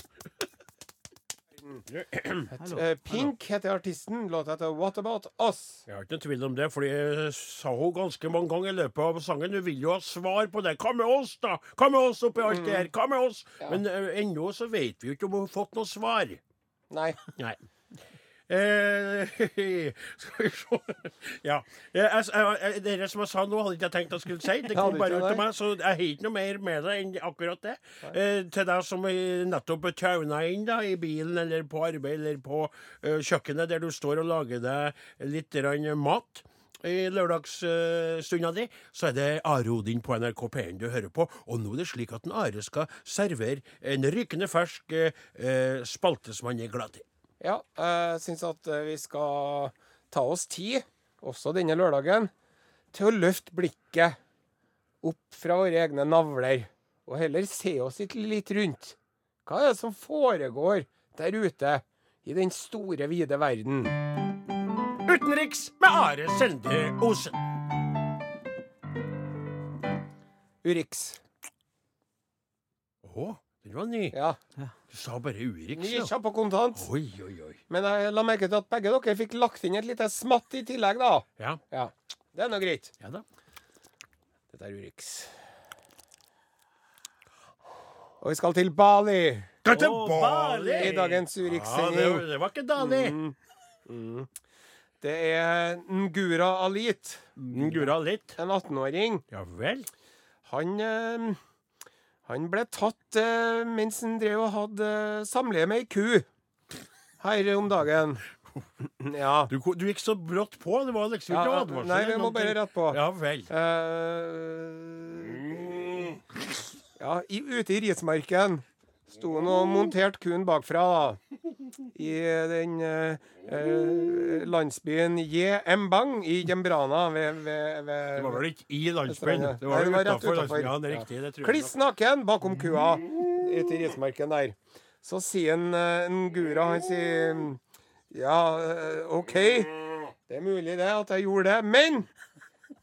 Speaker 3: Hallo.
Speaker 1: Eh, Pink heter artisten. Låta heter What About Us.
Speaker 2: Jeg har ikke noen tvil om det, for jeg sa hun ganske mange ganger i løpet av sangen. Hun vil jo ha svar på det. Hva med oss, da? Hva med oss oppi alt det her? Hva med oss? Men eh, ennå så vet vi jo ikke om hun har fått noe svar.
Speaker 1: Nei.
Speaker 2: Nei. Eh, skal vi se Ja. Eh, Jeg, jeg, jeg, dere som jeg sa nå, hadde ikke jeg tenkt jeg skulle si. Det
Speaker 1: Hadde
Speaker 2: kom
Speaker 1: ikke
Speaker 2: bare ut
Speaker 1: det?
Speaker 2: til meg, så jeg har ikke noe mer med det enn akkurat det. Eh, til deg som eh, nettopp tauna inn da, i bilen eller på arbeid eller på eh, kjøkkenet, der du står og lager deg litt grann mat. I lørdagsstunda di så er det Are Odin på NRK P1 du hører på. Og nå er det slik at en Are skal servere en rykende fersk eh, eh, spalte som han er glad i.
Speaker 1: Ja, jeg syns at eh, vi skal ta oss tid, også denne lørdagen, til å løfte blikket opp fra våre egne navler, og heller se oss litt, litt rundt. Hva er det som foregår der ute i den store, vide verden?
Speaker 2: Utenriks med Are Sende Osen.
Speaker 1: Urix.
Speaker 2: Å, den var ny.
Speaker 1: Ja.
Speaker 2: Du sa bare Urix,
Speaker 1: Mye
Speaker 2: ja.
Speaker 1: kjapp og kontant.
Speaker 2: Oi, oi, oi.
Speaker 1: Men jeg la merke til at begge dere fikk lagt inn et lite smatt i tillegg, da.
Speaker 2: Ja,
Speaker 1: Ja, Det er nå greit.
Speaker 2: ja da.
Speaker 1: Dette er Urix. Og vi skal til Bali
Speaker 2: Gå til
Speaker 3: Å,
Speaker 2: Bali!
Speaker 1: i dagens Mm.
Speaker 2: Ja, det,
Speaker 1: Urix-sending.
Speaker 2: det var ikke Dali.
Speaker 1: Mm. Det er Ngura Alit,
Speaker 2: Gura litt.
Speaker 1: en 18-åring.
Speaker 2: Ja vel.
Speaker 1: Han, eh, han ble tatt eh, mens han drev og hadde eh, samleie med ei ku her om dagen. Ja.
Speaker 2: Du, ko- du gikk så brått på. Det var liksom ikke
Speaker 1: ja
Speaker 2: noe advarsel.
Speaker 1: nei,
Speaker 2: eller
Speaker 1: vi må
Speaker 2: noen
Speaker 1: bare
Speaker 2: ting.
Speaker 1: rette på.
Speaker 2: Ja vel.
Speaker 1: Eh, ja, i, ute i rismarken sto han og monterte kuen bakfra, da. I den eh, eh, landsbyen Jembang i Jembrana ved, ved, ved
Speaker 2: Det var vel ikke i landsbyen? Det var,
Speaker 1: Sånn, Nei, det var rett
Speaker 2: utenfor
Speaker 1: utenfor.
Speaker 2: landsbyen. Ja, det er
Speaker 1: Ja.
Speaker 2: riktig. Det tror jeg.
Speaker 1: Kliss naken bakom kua ute i rismarken der. Så sier en, eh, en gura, han sier Ja, eh, OK, det er mulig det at jeg gjorde det, men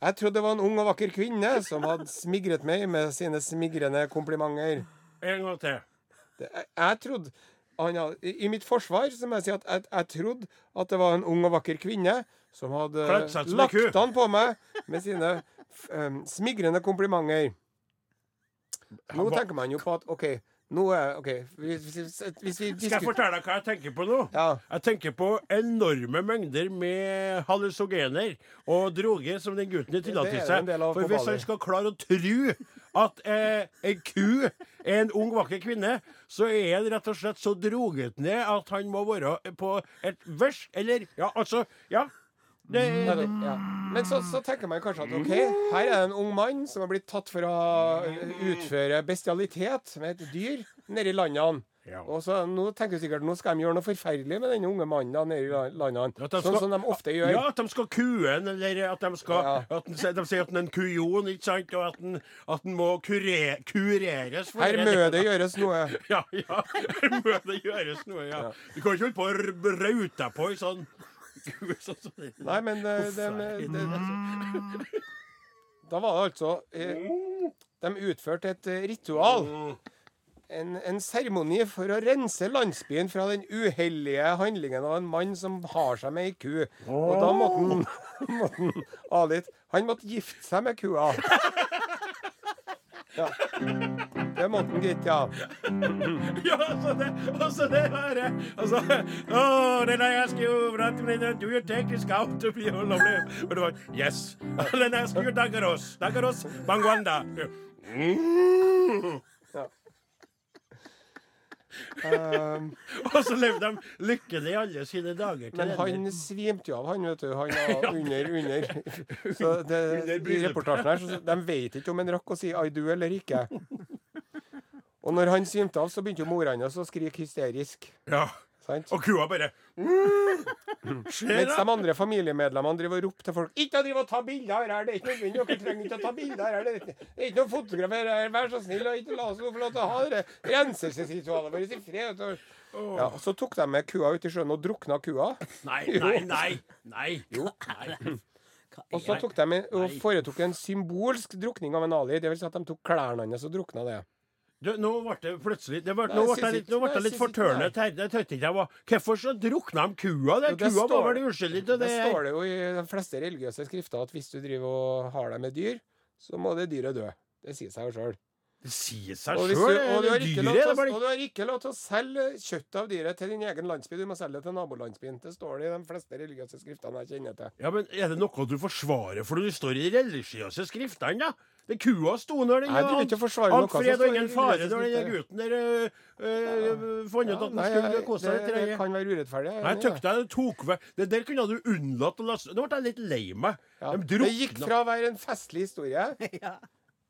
Speaker 1: jeg trodde det var en ung og vakker kvinne som hadde smigret meg med sine smigrende komplimenter.
Speaker 2: En gang til.
Speaker 1: Det, jeg, jeg trodde han hadde, i, I mitt forsvar så må jeg si at jeg, jeg trodde at det var en ung og vakker kvinne som hadde
Speaker 2: Kledd seg som en ku.
Speaker 1: lagt an på meg med sine f- em, smigrende komplimenter. Nå
Speaker 2: Hva-
Speaker 1: tenker man jo på at OK, nå er OK Hvis, hvis, hvis vi
Speaker 2: Skal jeg
Speaker 1: diskuterer
Speaker 2: fortelle deg hva jeg tenker på nå?
Speaker 1: ja,
Speaker 2: Jeg tenker på enorme mengder med hallusogener og droger som den gutten tillater
Speaker 1: Det er det en
Speaker 2: seg.
Speaker 1: del av
Speaker 2: For
Speaker 1: på
Speaker 2: hvis
Speaker 1: Bali.
Speaker 2: han skal klare å tro at eh, en ku er en ung, vakker kvinne, så er han rett og slett så droget ned at han må være på et vers Eller ja, altså Ja. Det,
Speaker 1: ja, Mm, det- ja. Men så, så tenker man kanskje at OK, her er det en ung mann som har blitt tatt for å utføre bestialitet med et dyr nede i landene.
Speaker 2: ja.
Speaker 1: Og så nå tenker du sikkert nå skal de gjøre noe forferdelig med den unge mannen da nede i la- landene.
Speaker 2: At de
Speaker 1: Sånn
Speaker 2: skal-
Speaker 1: som de ofte gjør.
Speaker 2: Ja, at de skal kue en, eller at de, skal,
Speaker 1: Ja.
Speaker 2: at den- de, sier at den er en kujon, ikke sant? Og at den, at den må kure, kureres. for
Speaker 1: Her
Speaker 2: det.
Speaker 1: må det gjøres noe.
Speaker 2: Ja, ja. Her må det gjøres noe, ja. Du kan ikke holde på å r- raute deg på i sånn sånn som det.
Speaker 1: Nei, Mm. men eh, det, det, det, altså. Da var det altså eh, De utførte et eh, ritual. En, en seremoni for å rense landsbyen fra den uhellige handlingen av en mann som har seg med ei ku. Og da måtte han, måtte han Alit Han måtte gifte seg med kua. Ja. Det måtte han, gitt, ja.
Speaker 2: Ja, altså det, altså det her er- altså, oh, then I ask you, right, do you take this out to be a lovely... Og det var, yes. And then I ask you, Dagaros. Dagaros, Bangwanda. Mm.
Speaker 1: Um,
Speaker 2: Og så levde de lykkelig alle sine dager til
Speaker 1: Men
Speaker 2: ende.
Speaker 1: han svimte jo av, han, vet du. Han var under, under. Så det, i
Speaker 2: bryllupet.
Speaker 1: reportasjen her, så de vet ikke om han rakk å si I do eller ikke. Og når han svimte av, så begynte jo mora hans å skrike hysterisk.
Speaker 2: Ja.
Speaker 1: Sant?
Speaker 2: Og kua bare "Mm,
Speaker 1: Mens de
Speaker 2: Skjer
Speaker 1: andre familiemedlemmene driver og roper til folk Ikke å drive og ta bilder her, det er ikke nødvendig, dere trenger ikke å ta bilder her. Det er ikke, det er ikke noe å fotografere her, vær så snill, og ikke la oss få lov til å ha det renselsesritualet vårt i fred. vet du.» Ja, og så tok de med kua ut i sjøen og drukna kua.
Speaker 2: Nei, nei, nei. Nei. Jo. nei.
Speaker 1: Og så tok de en- og foretok en symbolsk drukning av en Ali. Det vil si at de tok klærne hans og drukna det.
Speaker 2: Du, nå ble det plutselig det ble,
Speaker 1: Nei,
Speaker 2: Nå
Speaker 1: jeg
Speaker 2: ble jeg
Speaker 1: synes
Speaker 2: litt, nå
Speaker 1: ikke-
Speaker 2: ble
Speaker 1: nei,
Speaker 2: jeg
Speaker 1: jeg
Speaker 2: litt
Speaker 1: synes ikke det
Speaker 2: fortørnet her. Det tenkte ikke jeg var Hvorfor så drukna de kua? Det,
Speaker 1: Jo, det
Speaker 2: kua var
Speaker 1: står-
Speaker 2: vel uskyldig til det?
Speaker 1: Det står det jo i de fleste religiøse skrifter at hvis du driver og har deg med dyr, så må det dyret dø. Det sier seg jo sjøl.
Speaker 2: Det sier seg
Speaker 1: Og, hvis du,
Speaker 2: sjøl.
Speaker 1: og, du har ikke lov
Speaker 2: Dyret det
Speaker 1: til å-
Speaker 2: bare-
Speaker 1: og du har ikke lov til å selge kjøttet av dyret til din egen landsby, du må selge det til nabolandsbyen. Det står det i de fleste religiøse skriftene jeg kjenner til.
Speaker 2: Ja, men Er det noe du forsvarer for det står i de religiøse skriftene, da? Den kua sto når den
Speaker 1: Nei, du vil ikke forsvare
Speaker 2: All
Speaker 1: noe som
Speaker 2: fred
Speaker 1: står i
Speaker 2: og ingen
Speaker 1: de
Speaker 2: fare
Speaker 1: religiøse
Speaker 2: når den der
Speaker 1: skriftene.
Speaker 2: gutten der øh, øh, fant ut
Speaker 1: Ja,
Speaker 2: at den
Speaker 1: nei,
Speaker 2: skulle
Speaker 1: jeg-
Speaker 2: kose seg i
Speaker 1: det, det
Speaker 2: treet.
Speaker 1: kan være urettferdig. jeg er
Speaker 2: Nei, jeg
Speaker 1: enig i det.
Speaker 2: tykte jeg det tok vei. Det der kunne du unnlatt å laste Nå ble jeg litt lei meg.
Speaker 1: Ja.
Speaker 2: De
Speaker 1: Det gikk
Speaker 2: drukna.
Speaker 1: fra å være en festlig historie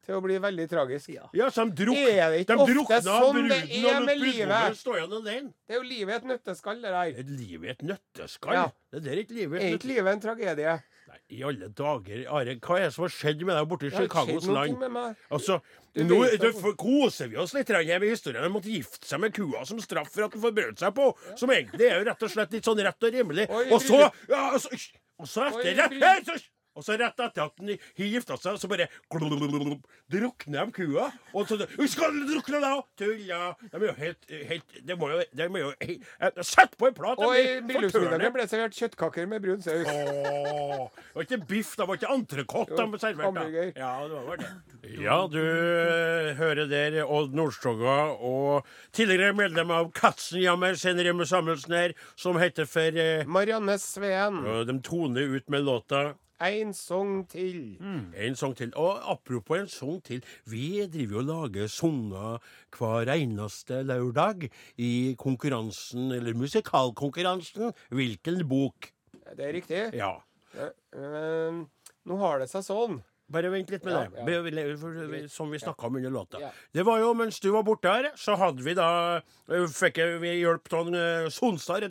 Speaker 1: til å bli veldig tragisk.
Speaker 3: Ja.
Speaker 2: Ja, så de druk,
Speaker 1: Er det ikke
Speaker 2: de
Speaker 1: ofte
Speaker 2: drukna
Speaker 1: sånn
Speaker 2: bruden
Speaker 1: det er
Speaker 2: og lot
Speaker 1: med
Speaker 2: brudgommen
Speaker 1: livet?
Speaker 2: stå igjen alene.
Speaker 1: Det er jo livet i et nøtteskall, det der.
Speaker 2: Er Livet i et nøtteskall.
Speaker 1: Ja.
Speaker 2: Det der er ikke livet i et
Speaker 1: Er ikke
Speaker 2: nøtteskall.
Speaker 1: livet en tragedie?
Speaker 2: Nei, I alle dager, Are, hva er det som har skjedd med deg borte i
Speaker 1: Det har ikke skjedd
Speaker 2: Chicagos
Speaker 1: noe
Speaker 2: land?
Speaker 1: med meg.
Speaker 2: Altså,
Speaker 1: Du
Speaker 2: nå
Speaker 1: vet
Speaker 2: du,
Speaker 1: at-
Speaker 2: for- koser vi oss litt grann her med historien. De måtte gifte seg med kua som straff for at den forbrøt seg på. Som egentlig er jo rett og slett litt sånn rett og rimelig.
Speaker 1: Oi,
Speaker 2: Og så
Speaker 1: bryllup.
Speaker 2: ja, og så, hysj! og så
Speaker 1: Oi,
Speaker 2: etter rett,
Speaker 1: bryllup.
Speaker 2: hei, så- og så rett etter at den har gifta seg, så bare glulululul, drukner de kua. Og så «Vi Skal du drukne deg òg? Tulla! De er jo helt, helt De må jo, de er jo he- eh, Sett på en plat! de
Speaker 1: Og i
Speaker 2: blir fortørnet.
Speaker 1: bryllupsmiddagen ble det servert kjøttkaker med brun saus.
Speaker 2: Åh, det var ikke biff, det var ikke entrecôte de
Speaker 1: Jo,
Speaker 2: serverte.
Speaker 1: hamburger.
Speaker 2: Ja, det var det. Ja, du eh, hører der Odd Nordstoga og tidligere medlem av Katzenjammer, senere Remme Samuelsen her, som heter for eh,
Speaker 1: Marianne Sveen,
Speaker 2: og De toner ut med låta
Speaker 1: en sang til.
Speaker 2: en sang til. Og apropos en sang til. Vi driver jo og lager sanger hver eneste lørdag i konkurransen, eller musikalkonkurransen, Hvilken bok?
Speaker 1: Det er riktig.
Speaker 2: Ja.
Speaker 1: Det- Men nå har det seg sånn.
Speaker 2: Bare vent litt med
Speaker 1: Ja,
Speaker 2: det.
Speaker 1: ja.
Speaker 2: Be- le- for- vi- Som vi snakka om under låta.
Speaker 1: Ja.
Speaker 2: Det var jo mens du var borte her, så hadde vi da eh, Fikk jeg- vi hjelp av en, eh, Sonstad,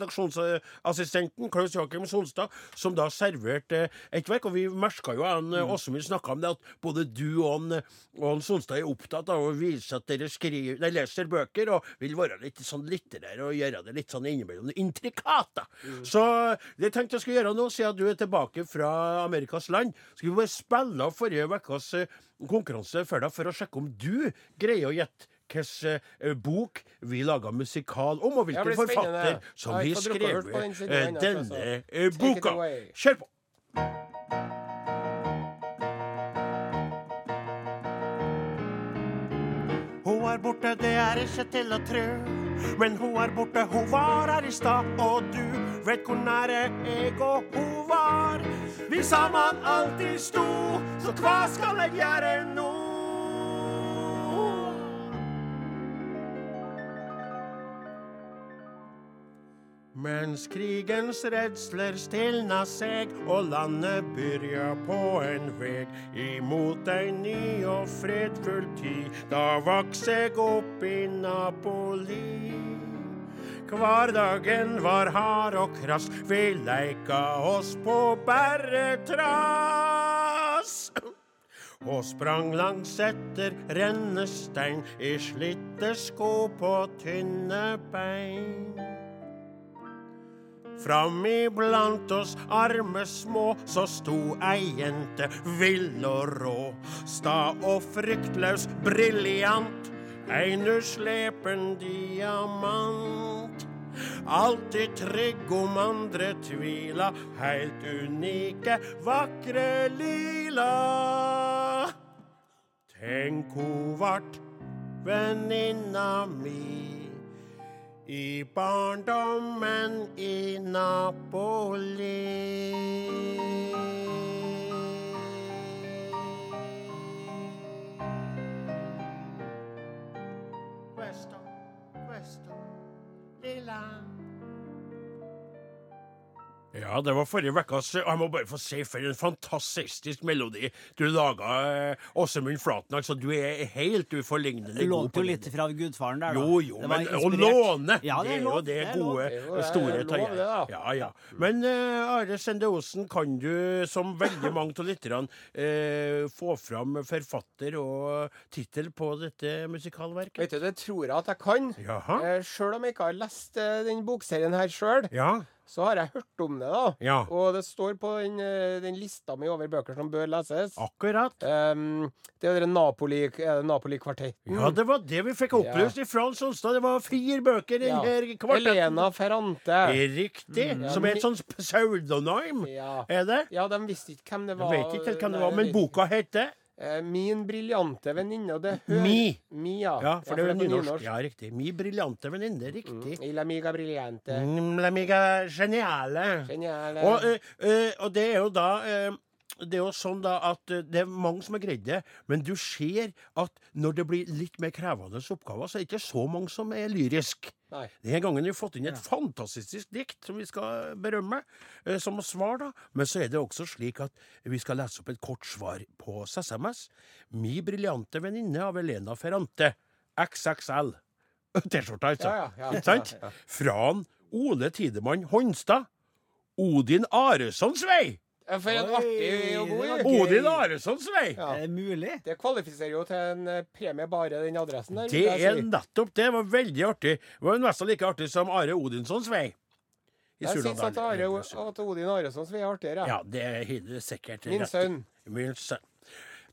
Speaker 2: redaksjonsassistenten Klaus Joakim Sonstad, som da serverte eh, et verk. Og vi merka jo han
Speaker 1: Mm.
Speaker 2: eh, Åsemund snakka om det, at både du og han, eh, og han Sonstad er opptatt av å vise at dere skriver, nei, leser bøker, og vil være litt sånn litterære og gjøre det litt sånn innimellom intrikat. da.
Speaker 1: Mm.
Speaker 2: Så det tenkte jeg skulle gjøre nå, siden du er tilbake fra Amerikas land. Skal vi bare spille av forrige ukas eh, konkurranse for deg, for å sjekke om du greier å gjette hvilken eh, bok vi laga musikal om, og
Speaker 1: Ja,
Speaker 2: hvilken
Speaker 1: det blir spennende.
Speaker 2: forfatter som
Speaker 1: Jeg har
Speaker 2: har
Speaker 1: ikke fått drukket over
Speaker 2: skrevet
Speaker 1: på den siden
Speaker 2: eh,
Speaker 1: ennå,
Speaker 2: denne
Speaker 1: altså.
Speaker 2: eh,
Speaker 1: Take it
Speaker 2: boka.
Speaker 1: away.
Speaker 2: Kjør på! Hun er borte, det er ikke til å tru. Men hun er borte, hun var her i stad. Og du vet hvor nære jeg og hun var. Vi sammen alltid sto, så hva skal jeg gjøre nå? Mens krigens redsler stilna seg og landet byrja på en veg imot ei ny og fredfull tid, da vaks jeg opp i Napoli. Hverdagen var hard og krass, vi leika oss på bare trass. Og sprang langs etter rennestein i slitte sko på tynne bein. Fram iblant oss arme små, så sto ei jente vill og rå. Sta og fryktløs briljant, ein uslepen diamant. Alltid trygg om andre tvila, heilt unike, vakre lila. Tenk ho vart venninna mi. I barndommen i Napoli. Questo, questo, lilla. Ja, det var forrige ukas og Jeg må bare få si for en fantastisk melodi du laga, eh, Åsemund Flaten. Altså, du er helt
Speaker 3: Du
Speaker 2: uforlignelig god
Speaker 3: lånte
Speaker 2: på
Speaker 3: jo litt
Speaker 2: det.
Speaker 3: fra gudfaren der, da.
Speaker 2: Jo, jo,
Speaker 3: Det var
Speaker 2: men å
Speaker 3: inspirert.
Speaker 2: låne,
Speaker 3: Ja,
Speaker 2: det er jo
Speaker 3: lov,
Speaker 2: det
Speaker 3: er lov.
Speaker 2: gode,
Speaker 1: Det er jo det, det
Speaker 2: store
Speaker 1: er lov,
Speaker 2: tøyet.
Speaker 1: det, da.
Speaker 2: Ja, ja. Men eh, Are Sende Osen, kan du, som veldig mange av lytterne, eh, få fram forfatter og tittel på dette musikalverket?
Speaker 1: Vet du, det tror jeg at jeg kan.
Speaker 2: Jaha.
Speaker 1: Eh, Sjøl om jeg ikke har lest eh, den bokserien her sjøl,
Speaker 2: Ja.
Speaker 1: så har jeg hørt om det, da.
Speaker 2: Ja.
Speaker 1: Og det står på den, eh, den lista mi over bøker som bør leses.
Speaker 2: Akkurat.
Speaker 1: Em, Ehm, det er jo Napoli, eh, Napoli-kvartetten.
Speaker 2: Ja, det var det vi fikk opplyst i Frans Olstad. Det var fire bøker i
Speaker 1: Ja.
Speaker 2: her kvartetten.
Speaker 1: Elena Mm. Ferrante.
Speaker 2: Riktig. Som er et sånt pseudonym,
Speaker 1: Ja.
Speaker 2: er det?
Speaker 1: ja, de visste ikke hvem det
Speaker 2: Jeg
Speaker 1: var.
Speaker 2: vet ikke helt hvem det
Speaker 1: Nei,
Speaker 2: var, men
Speaker 1: de-
Speaker 2: boka heter
Speaker 1: Eh, Min briljante venninne, og det hører
Speaker 2: Mi.
Speaker 1: Mi, ja.
Speaker 2: Ja, for det er jo
Speaker 1: på
Speaker 2: nynorsk. Mm, Ja, riktig. Mi briljante venninne. Riktig.
Speaker 1: Il amiga brillante.
Speaker 2: Mm, La miga geniale.
Speaker 1: Geniale.
Speaker 2: Og, eh, eh, og det er jo da eh, det er jo sånn da at eh, det er mange som har greid det, men du ser at når det blir litt mer krevende oppgaver, så er det ikke så mange som er lyrisk.
Speaker 1: Nei.
Speaker 2: Denne gangen har vi fått inn et fantastisk dikt som vi skal berømme, eh, som svar, da. Men så er det også slik at vi skal lese opp et kort svar på SMS. Mi briljante venninne av Elena Ferrante. XXL. T-skjorta, altså.
Speaker 1: Ja, ja, ja.
Speaker 2: Ikke sant?
Speaker 1: Ja, ja.
Speaker 2: Fra han Ole Tidemann Honstad. Odin Aressons vei!
Speaker 1: Ja, For en
Speaker 3: Oi,
Speaker 1: artig og god
Speaker 3: det var
Speaker 1: jo.
Speaker 3: god.
Speaker 2: Odin Aressons vei!
Speaker 1: Ja.
Speaker 3: Er det mulig?
Speaker 1: Det kvalifiserer jo til en eh, premie, bare den adressen der.
Speaker 2: Det
Speaker 1: vil jeg
Speaker 2: er
Speaker 1: si.
Speaker 2: nettopp det. Det var veldig artig. Det var jo nesten like artig som Are Odinssons vei. I
Speaker 1: Jeg syns
Speaker 2: Surnadal.
Speaker 1: at, Are, at Odin Aresons vi er artigere.
Speaker 2: Ja, det er helt sikkert
Speaker 1: Min
Speaker 2: rett.
Speaker 1: sønn.
Speaker 2: Min sønn.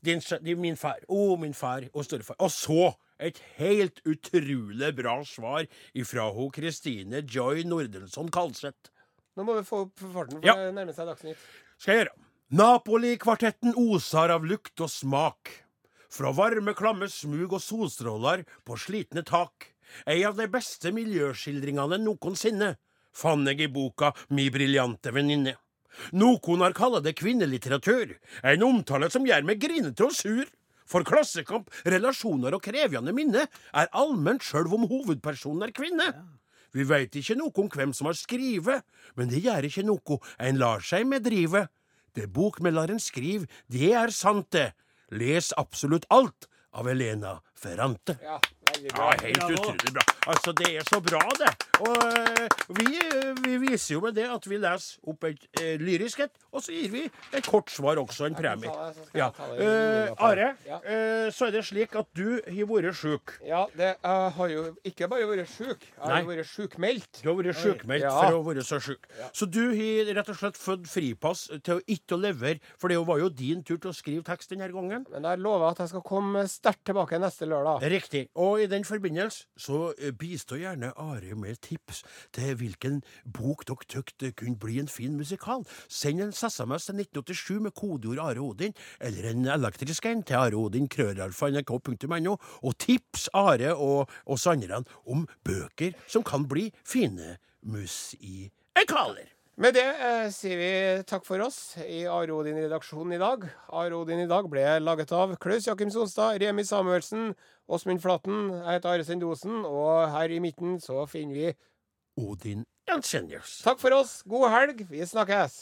Speaker 2: Din sønn. din- Min far. Å, min far og storefar. Og så et helt utrolig bra svar ifra ho Kristine Joy Nordensson Kalseth.
Speaker 1: Nå må du få opp farten, for
Speaker 2: Ja.
Speaker 1: det nærmer seg Dagsnytt.
Speaker 2: Skal jeg gjøre. Napoli-kvartetten osar av lukt og smak. Fra varme, klamme smug og solstråler på slitne tak. Ei av de beste miljøskildringene noensinne fant jeg i boka Mi briljante venninne. Noen har kalla det kvinnelitteratur, en omtale som gjør meg grinete og sur. For klassekamp, relasjoner og krevende minne er allment sjøl om hovedpersonen er kvinne. Vi veit ikke noe om hvem som har skrivet, men det gjør ikke noe, en lar seg medrive. Det bokmelderen skriver, det er sant, det. Les absolutt alt av Elena Ferrante.
Speaker 1: Ja, veldig bra.
Speaker 2: Ja, helt
Speaker 3: Bravo.
Speaker 2: utrolig bra. Altså, det er så bra, det. Og eh, vi, eh, vi viser jo med det at vi leser opp et eh, lyrisk et, og så gir vi et kort svar også, en
Speaker 1: kan
Speaker 2: premie.
Speaker 1: ta det, så skal
Speaker 2: Ja.
Speaker 1: jeg ta det i
Speaker 2: Eh,
Speaker 1: innlegget.
Speaker 2: Are,
Speaker 1: Ja.
Speaker 2: eh, så er det slik at du har vært sjuk.
Speaker 1: Ja, det, jeg har jo ikke bare vært sjuk, jeg har jo
Speaker 2: Nei.
Speaker 1: vært sjukmeldt.
Speaker 2: Du har vært sjukmeldt
Speaker 1: Ja.
Speaker 2: for å være så sjuk. Så du har rett og slett fått fripass til å ikke å levere, for det var jo din tur til å skrive tekst denne gangen.
Speaker 1: Men jeg lover at jeg skal komme sterkt tilbake neste lørdag.
Speaker 2: Riktig. Og i den forbindelse så eh, bistå gjerne Are med tips til hvilken bok dere tykte kunne bli en fin musikal. Send en SMS til 1987 med kodeord Are Odin, eller en elektrisk en til areodin.krøllalfa.nrk.no, og tips Are og oss andre om bøker som kan bli fine musikaler.
Speaker 1: Med det eh, sier vi takk for oss i Are Odin-redaksjonen i dag. Are Odin i dag ble laget av Klaus Jakim Sonstad, Remi Samuelsen, Åsmund Flaten. Jeg heter Are Sendosen, og her i midten så finner vi
Speaker 2: Odin Jensenius.
Speaker 1: Takk for oss, god helg, vi snakkes!